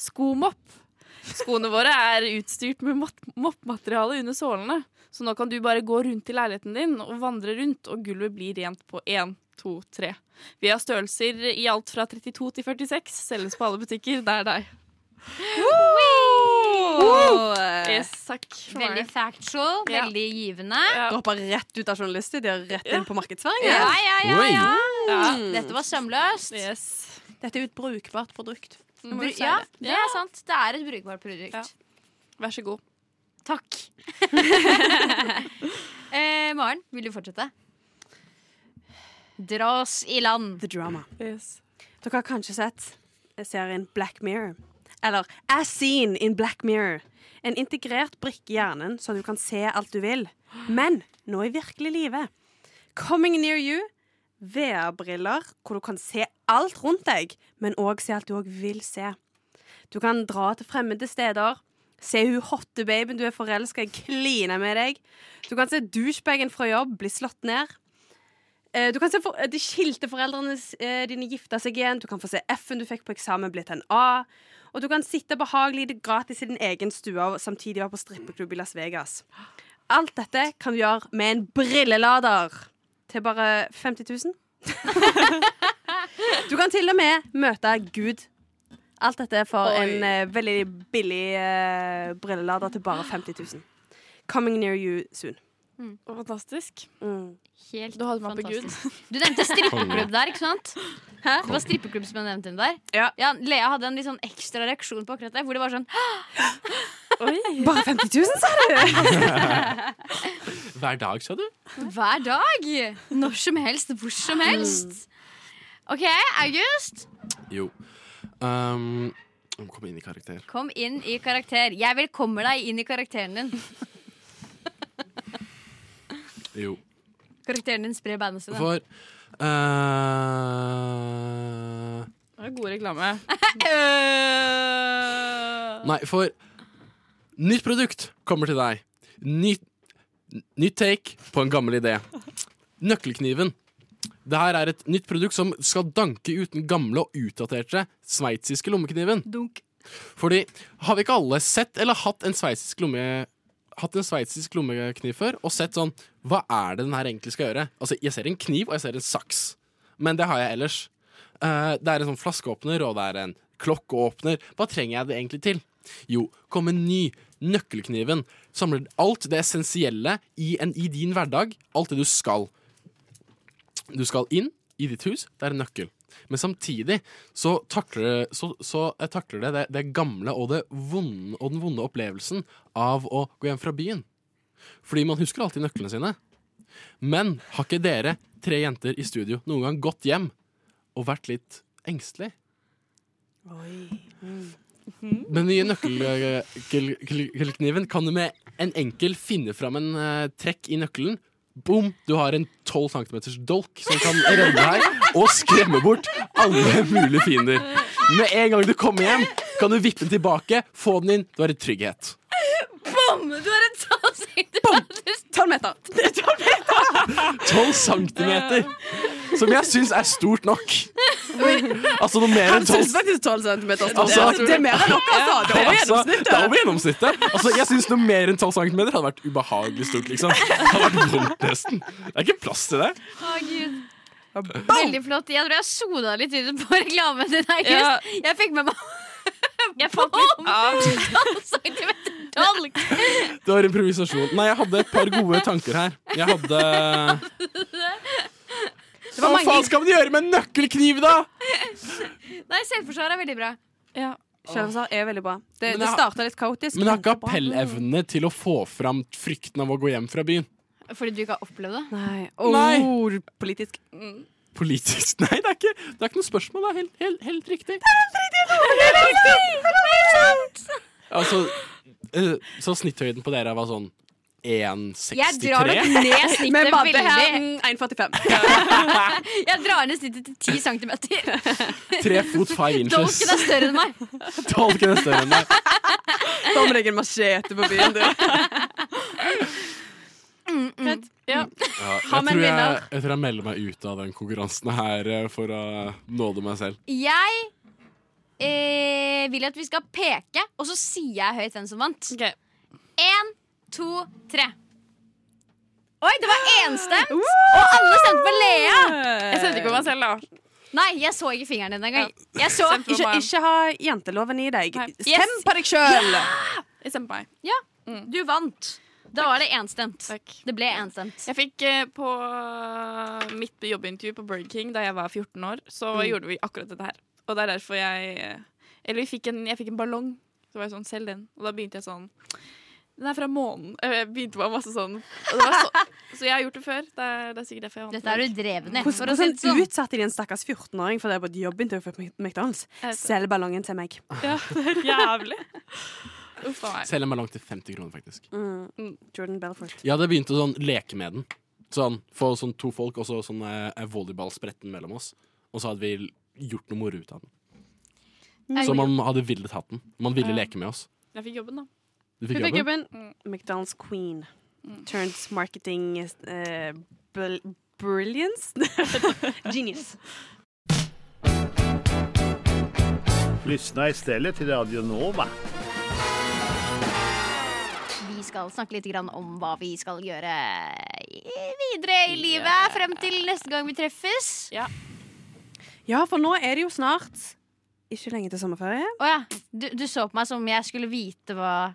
S6: Skomopp. Skoene våre er utstyrt med mat- moppmateriale under sålene, så nå kan du bare gå rundt i leiligheten din og vandre rundt, og gulvet blir rent på én, to, tre. Vi har størrelser i alt fra 32 til 46, selges på alle butikker nær deg.
S5: Wow!
S7: Eh,
S6: Yes, takk. for meg.
S5: Veldig factual,
S6: Ja.
S5: veldig givende.
S6: Ja.
S7: Du hopper rett ut av journalisttid, rett inn på markedsføring.
S5: Ja, ja, ja,
S1: Oi.
S5: ja.
S6: Ja.
S5: Dette var sømløst.
S6: Yes.
S7: Dette er jo et brukbart produkt.
S6: Nå må du si
S5: Ja,
S6: det.
S5: det er sant. Det er et brukbart produkt.
S6: Ja. Vær så god. [laughs]
S5: Takk. eh, Maren, vil du fortsette? Dra oss i land.
S7: The drama. Dere har kanskje sett serien Black Mirror. Eller As Seen in Black Mirror. En integrert brikke i hjernen, så du kan se alt du vil. Men nå i virkelig livet. Coming near you. VR-briller hvor du kan se alt rundt deg, men òg se alt du òg vil se. Du kan dra til fremmede steder, se hun hotte babyen du er forelska i, kline med deg. Du kan se douchebagen fra jobb bli slått ned. Eh, Du kan se for, De skilte foreldrene s- eh, dine gifte seg igjen. Du kan få se F-en du fikk på eksamen, blitt en A. Og du kan sitte behagelig gratis i din egen stue og samtidig være på strippeklubb i Las Vegas. Alt dette kan du gjøre med en brillelader til bare [laughs] 50 000. Du kan til og med møte Gud. Alt dette for
S6: Oi.
S7: en eh, veldig billig eh, brillelader til bare 50 000. Coming near you soon.
S6: Fantastisk.
S5: Helt
S6: Du hadde meg på Gud.
S5: fantastisk. Du nevnte strippeklubb der, ikke sant? Hæ? Det var strippeklubb som jeg nevnte den der.
S7: Ja.
S5: Lea hadde en litt sånn ekstra reaksjon på akkurat det, hvor det var sånn
S7: Bare 50 000, sa du?
S1: Hver dag, sa du?
S5: Hver dag! Når som helst, hvor som
S6: Mm.
S5: helst. OK, August,
S1: Jo. Um, jeg må komme inn i karakter.
S5: kom inn i karakter. Jeg velkommer deg inn i karakteren din.
S1: Jo.
S5: Karakteren din sprer bandet sine.
S1: For eh,
S6: Det var god reklame. Eh,
S1: Nei, for nytt produkt kommer til deg. Ny, nytt take på en gammel idé. Nøkkelkniven. Det her er et nytt produkt som skal danke ut den gamle og utdaterte sveitsiske lommekniven.
S5: Dunk.
S1: Fordi, har vi ikke alle sett eller hatt en sveitsisk lomme Hatt en sveitsisk lommekniv før og sett sånn Hva er det den her egentlig skal gjøre? Altså, jeg ser en kniv, og jeg ser en saks. Men det har jeg ellers. Eh, det er en sånn flaskeåpner, og det er en klokkeåpner. Hva trenger jeg det egentlig til? Jo, kom en ny. Nøkkelkniven. Samler alt det essensielle i, en, i din hverdag. Alt det du skal. Du skal inn i ditt hus. Det er en nøkkel. Men samtidig så takler, så, så eh, takler det, det det gamle og, det vonde, og den vonde opplevelsen av å gå hjem fra byen. Fordi man husker alltid nøklene sine. Men har ikke dere tre jenter i studio noen gang gått hjem og vært litt engstelig? Den nye nøkkelkniven kan du med en enkel finne fram en eh, trekk i nøkkelen. Boom! Du har en 12 cm dolk som kan redde deg og skremme bort alle mulige fiender. Med en gang du kommer hjem, kan du vippe den tilbake, få den inn. Du er i trygghet.
S5: Bom! Du har en tallsikt!
S7: 12 meter.
S1: 12 cm! Som jeg syns er stort nok. Altså noe mer enn
S7: Han
S1: 12
S7: syns faktisk 12 cm.
S1: Altså-
S7: det er mer enn nok, altså. Det er over
S1: Altså,
S7: gjennomsnittet.
S1: det er over gjennomsnittet. Altså, jeg syns noe mer enn 12 cm hadde vært ubehagelig stort. Liksom. Det hadde vært vondt nesten. Det er ikke plass til det.
S5: Å, Gud. Veldig flott. Jeg tror jeg sona litt ut på reklamen din, August.
S6: Ja.
S5: Jeg fikk med meg
S6: Jeg falt litt
S5: [laughs]
S6: av.
S5: tallcentimeter dolk!
S1: Det var improvisasjon. Nei, jeg hadde et par gode tanker her. Jeg hadde Hva faen skal man gjøre med en nøkkelkniv, da?!
S5: Nei, selvforsvar er veldig bra.
S6: Ja.
S7: Selvforsvar er veldig bra. Det,
S1: Men
S7: det
S1: jeg-
S7: starta litt kaotisk.
S1: Men jeg har ikke
S7: bra.
S1: appellevne til å få fram frykten av å gå hjem fra byen.
S5: Fordi du ikke har opplevd det?
S7: Nei. Oh,
S1: Nei.
S7: Politisk.
S1: Politisk [laughs] Nei, det er ikke, det er ikke noe spørsmål. Det er helt, helt, helt riktig. Altså, eh, så snitthøyden på dere var sånn 1,63?
S5: Jeg drar nok ned
S7: Men
S5: snittet
S7: Madde her,
S5: veldig.
S7: mm, 1,45.
S5: Jeg drar ned snittet til 10 centimeter.
S1: Tre fot five inches.
S5: Dolken er større enn meg.
S1: Dolken er større enn deg.
S7: Da må du legge en machete på byen, du.
S1: [laughs] Ja, jeg,
S7: Ha med en
S1: tror jeg,
S7: vinner.
S1: jeg tror jeg melder meg ut av den konkurransen her eh, for å nåde meg selv.
S5: Jeg eh, vil at vi skal peke, og så sier jeg høyt hvem som vant.
S6: Ok.
S5: Én, to, tre. Oi, det var enstemt! Og alle stemte på Lea!
S6: Jeg sendte ikke på meg selv, da.
S5: Nei, jeg så ikke fingeren din engang. Jeg så
S6: Stemte på
S7: Ikke,
S6: meg.
S7: ikke ha janteloven i deg.
S6: Nei.
S7: Stem på deg sjøl!
S6: Jeg stemte på meg.
S5: Ja, du vant. Da var det enstemt.
S6: Takk.
S5: Det ble enstemt.
S6: Jeg fikk eh, på eh, mitt jobbintervju på Burger King da jeg var 14 år, så gjorde vi akkurat dette her. Og det er derfor jeg eh, Eller vi fikk en, jeg fikk en ballong. Så var jeg sånn, selg den. Og da begynte jeg sånn Den er fra månen. [laughs] Eh, Jeg begynte med masse sånn. Og det var [laughs] så, så jeg har gjort det før. Det er, det er sikkert derfor jeg vant.
S5: Dette er du dreven i. for å si
S7: Hvordan
S5: det sånn.
S7: utsatte de en stakkars 14-åring for det på et jobbintervju på McDonald's?
S6: Jeg vet det.
S7: Selg ballongen til meg.
S6: Ja, det er jævlig. [laughs] Uff a meg.
S1: Selv om jeg er langt til 50 kroner, faktisk.
S7: Mm. Jordan Belfort.
S1: Jeg hadde begynt å sånn leke med den. Sånn, Få sånn to folk og så sånn eh, volleyballspretten mellom oss. Og så hadde vi gjort noe moro ut av den. Så man hadde villet hatt den. Man ville leke med oss.
S6: Jeg fikk jobben, da.
S1: Du fikk jobben?
S7: McDonald's queen. Turns marketing eh, bl brilliance. Genius.
S10: Lyssna istället till Radio Nova.
S5: Vi skal snakke litt grann om hva vi skal gjøre i- videre i livet frem til neste gang vi treffes.
S7: Ja, for nå er det jo snart ikke lenge til sommerferie.
S5: Å ja. Du, du så på meg som om jeg skulle vite hva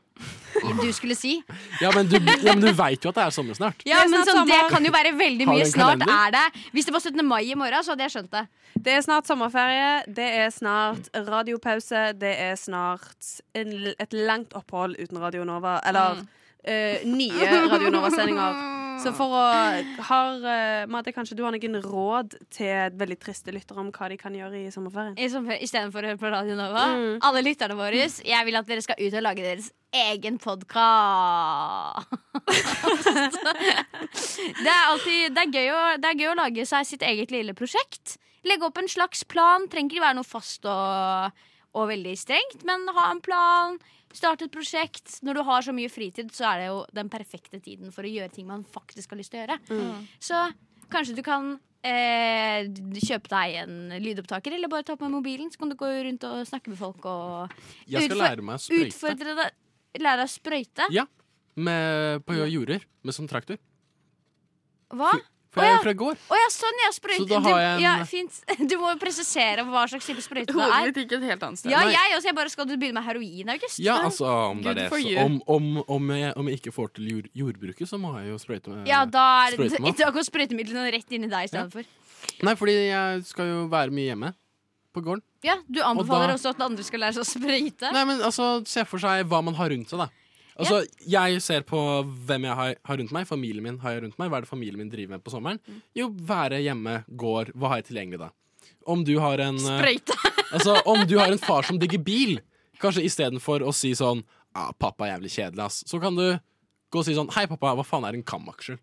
S5: du skulle si.
S1: Ja, men du, ja, men du veit jo at det er sommer snart.
S5: Ja, men sånn, Det kan jo være veldig
S1: Har du
S5: mye.
S1: en
S5: Snart
S1: kalender?
S5: er det. Hvis det var 17. mai i morgen, så hadde jeg skjønt det.
S7: Det er snart sommerferie, det er snart radiopause, det er snart en, et langt opphold uten Radio Nova. Eller eh, nye Radio Nova-sendinger. Så for å har, eh, Madde, kanskje du har noen råd til veldig triste lyttere om hva de kan gjøre i sommerferien?
S5: I sommer- Istedenfor å høre på Radio Nova. Alle lytterne våre, jeg vil at dere skal ut og lage deres egen podkast. [laughs] det er alltid det er, gøy å, det er gøy å lage seg sitt eget lille prosjekt. Legge opp en slags plan. Trenger ikke være noe fast og, og veldig strengt, men ha en plan. Starte et prosjekt. Når du har så mye fritid, så er det jo den perfekte tiden for å gjøre ting man faktisk har lyst til å gjøre.
S11: Mm.
S5: Så kanskje du kan eh, kjøpe deg en lydopptaker, eller bare ta på med mobilen, så kan du gå rundt og snakke med folk og
S1: Jeg skal
S5: utfor-
S1: lære meg å sprøyte.
S5: Utfordre deg. Lære deg å sprøyte?
S1: Ja, med, på jorder. Med som traktor.
S5: Hva?
S1: For jeg er fra gård.
S5: Å ja, sånn, ja. Sprøyte.
S1: Så da har jeg en-
S5: du, ja, fint. [laughs] du må jo presisere hva slags type sprøyte det
S6: Hodet
S5: er.
S6: mitt gikk et helt annet sted.
S5: Ja, jeg også. Jeg bare skal du begynne med heroin i august?
S1: Ja, altså, om det er
S6: Good
S1: det.
S6: for
S1: Så
S6: you.
S1: om, om, om, jeg, om jeg ikke får til jord, jordbruket, så må jeg jo sprøyte med
S5: Ja, da, er, [laughs]
S1: sprøyte med.
S5: da går sprøytemidlene rett inn i deg i stedet for.
S1: Nei, fordi jeg skal jo være mye hjemme på gården.
S5: Ja, Du anbefaler
S1: da-
S5: også at andre skal lære seg å sprøyte?
S1: Nei, men altså, Se for seg hva man har rundt seg, da. Altså, Jeg ser på hvem jeg har, har rundt meg. Familien min har jeg rundt meg. Hva er det familien min driver med på sommeren? Jo, være hjemme, gård. Hva har jeg tilgjengelig da? Om du har en eh,
S5: Sprøyte.
S1: [laughs] Altså, om du har en far som digger bil, kanskje istedenfor å si sånn ah, 'Pappa er jævlig kjedelig', ass. Så kan du gå og si sånn 'Hei, pappa, hva faen er en kamaksjer?'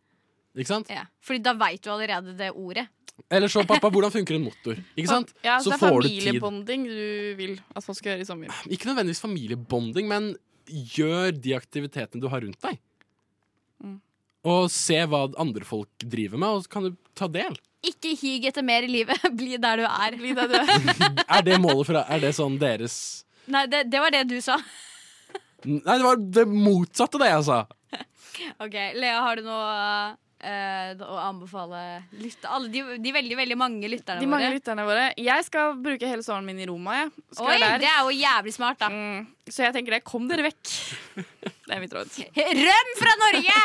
S1: Ikke sant?
S5: Ja, fordi da veit du allerede det ordet.
S1: Eller så 'Pappa, hvordan funker en motor?' Ikke sant?
S6: Ja,
S1: så
S6: altså, så det er
S1: får du tid.
S6: familiebonding du vil at folk skal gjøre i sommer.
S1: Ikke nødvendigvis familiebonding, men gjør de aktivitetene du har rundt deg.
S6: Mm.
S1: Og se hva andre folk driver med, og så kan du ta del.
S5: Ikke hig etter mer i livet. [laughs] Bli der du er.
S1: Er det målet for Er det sånn deres
S5: Nei, det, det var det du sa. [laughs]
S1: Nei, det var det motsatte av det jeg sa!
S5: Ok, Lea, har du noe eh, å anbefale lytte? Alle de, de veldig, veldig mange lytterne
S6: De mange
S5: våre.
S6: lytterne våre. Jeg skal bruke hele sommeren min i Roma. Jeg. Skal
S5: Oi,
S6: være der.
S5: det er jo jævlig smart, da.
S6: Så jeg tenker det. Kom dere vekk. Det er mitt råd.
S5: Røm fra Norge!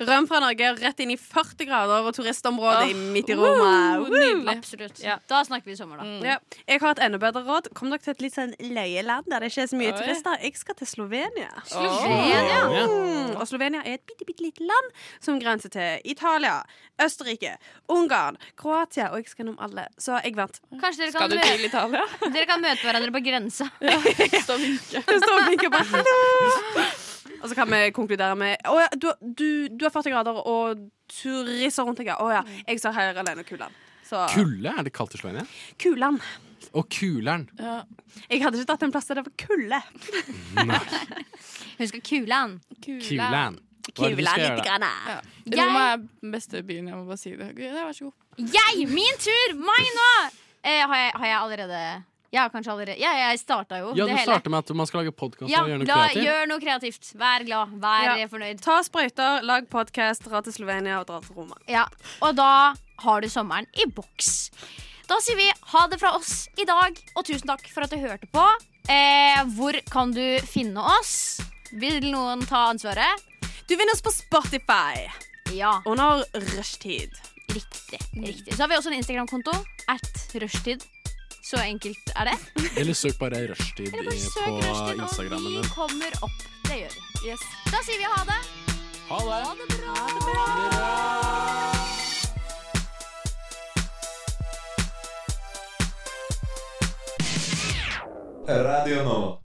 S7: Røm fra Norge rett inn i 40 grader og turistområdet
S6: Åh,
S7: midt i Roma.
S6: [laughs] woo,
S7: Woo!
S6: nydelig.
S5: Absolutt. Da snakker vi sommer, da.
S7: Ja. Jeg har et enda bedre råd. Kom dere til et litt sånn løyeland der det ikke er så mye
S5: Oi.
S7: turister. Jeg skal til Slovenia.
S5: Slovenia?
S7: Mm. Og Slovenia er et bitte, bitte lite land som grenser til Italia, Østerrike, Ungarn, Kroatia, og jeg skal gjennom alle. Så jeg vant. [laughs]
S6: Mm.
S5: Kanskje dere
S7: Skal
S5: kan,
S7: du til Italia?
S5: dere kan møte hverandre på grensa.
S7: Det står og vinker bare hallo! Og så kan vi konkludere med Å ja, du, du, du har 40 grader og turister rundt deg. ja. Å ja, jeg står her alene og kuler. Så
S1: Kulde er det kalt i Slovenia.
S7: Kuland.
S1: Og kuleren.
S7: Jeg hadde ikke tatt en plass der det var kulde.
S5: Hun skal kule han.
S1: Kulan. Hva er det du skal gjøre da?
S6: Ja.
S5: Jeg-
S6: Roma er den beste byen. Jeg må bare si det. Gud, Vær så god.
S5: Jeg! Min tur! Meg nå! Eh, har, jeg, har jeg allerede Ja, kanskje allerede. Ja, jeg starta jo
S1: Ja,
S5: det
S1: du
S5: hele.
S1: starter med at man skal lage podkast
S5: Ja,
S1: og gjøre noe
S5: la,
S1: kreativt.
S5: gjør noe kreativt. Vær glad. Vær eh, fornøyd.
S7: Ta sprøyter, lag podkast, dra til Slovenia og dra til Roma.
S5: Ja, og da har du sommeren i boks. Da sier vi ha det fra oss i dag, og tusen takk for at du hørte på. Eh, hvor kan du finne oss? Vil noen ta ansvaret?
S7: Du vinner oss på Spotify.
S5: Ja.
S7: Under rushtid.
S5: Riktig. riktig. Så har vi også en Instagram-konto. At rushtid. Så enkelt er det.
S1: Eller søk bare rushtid i- på
S5: Søk rushtid, og
S1: Instagrammen
S5: vi
S1: din.
S5: kommer opp. Det gjør vi. Da sier vi ha det.
S1: Ha det.
S5: Ha det bra.
S3: Radio Nova.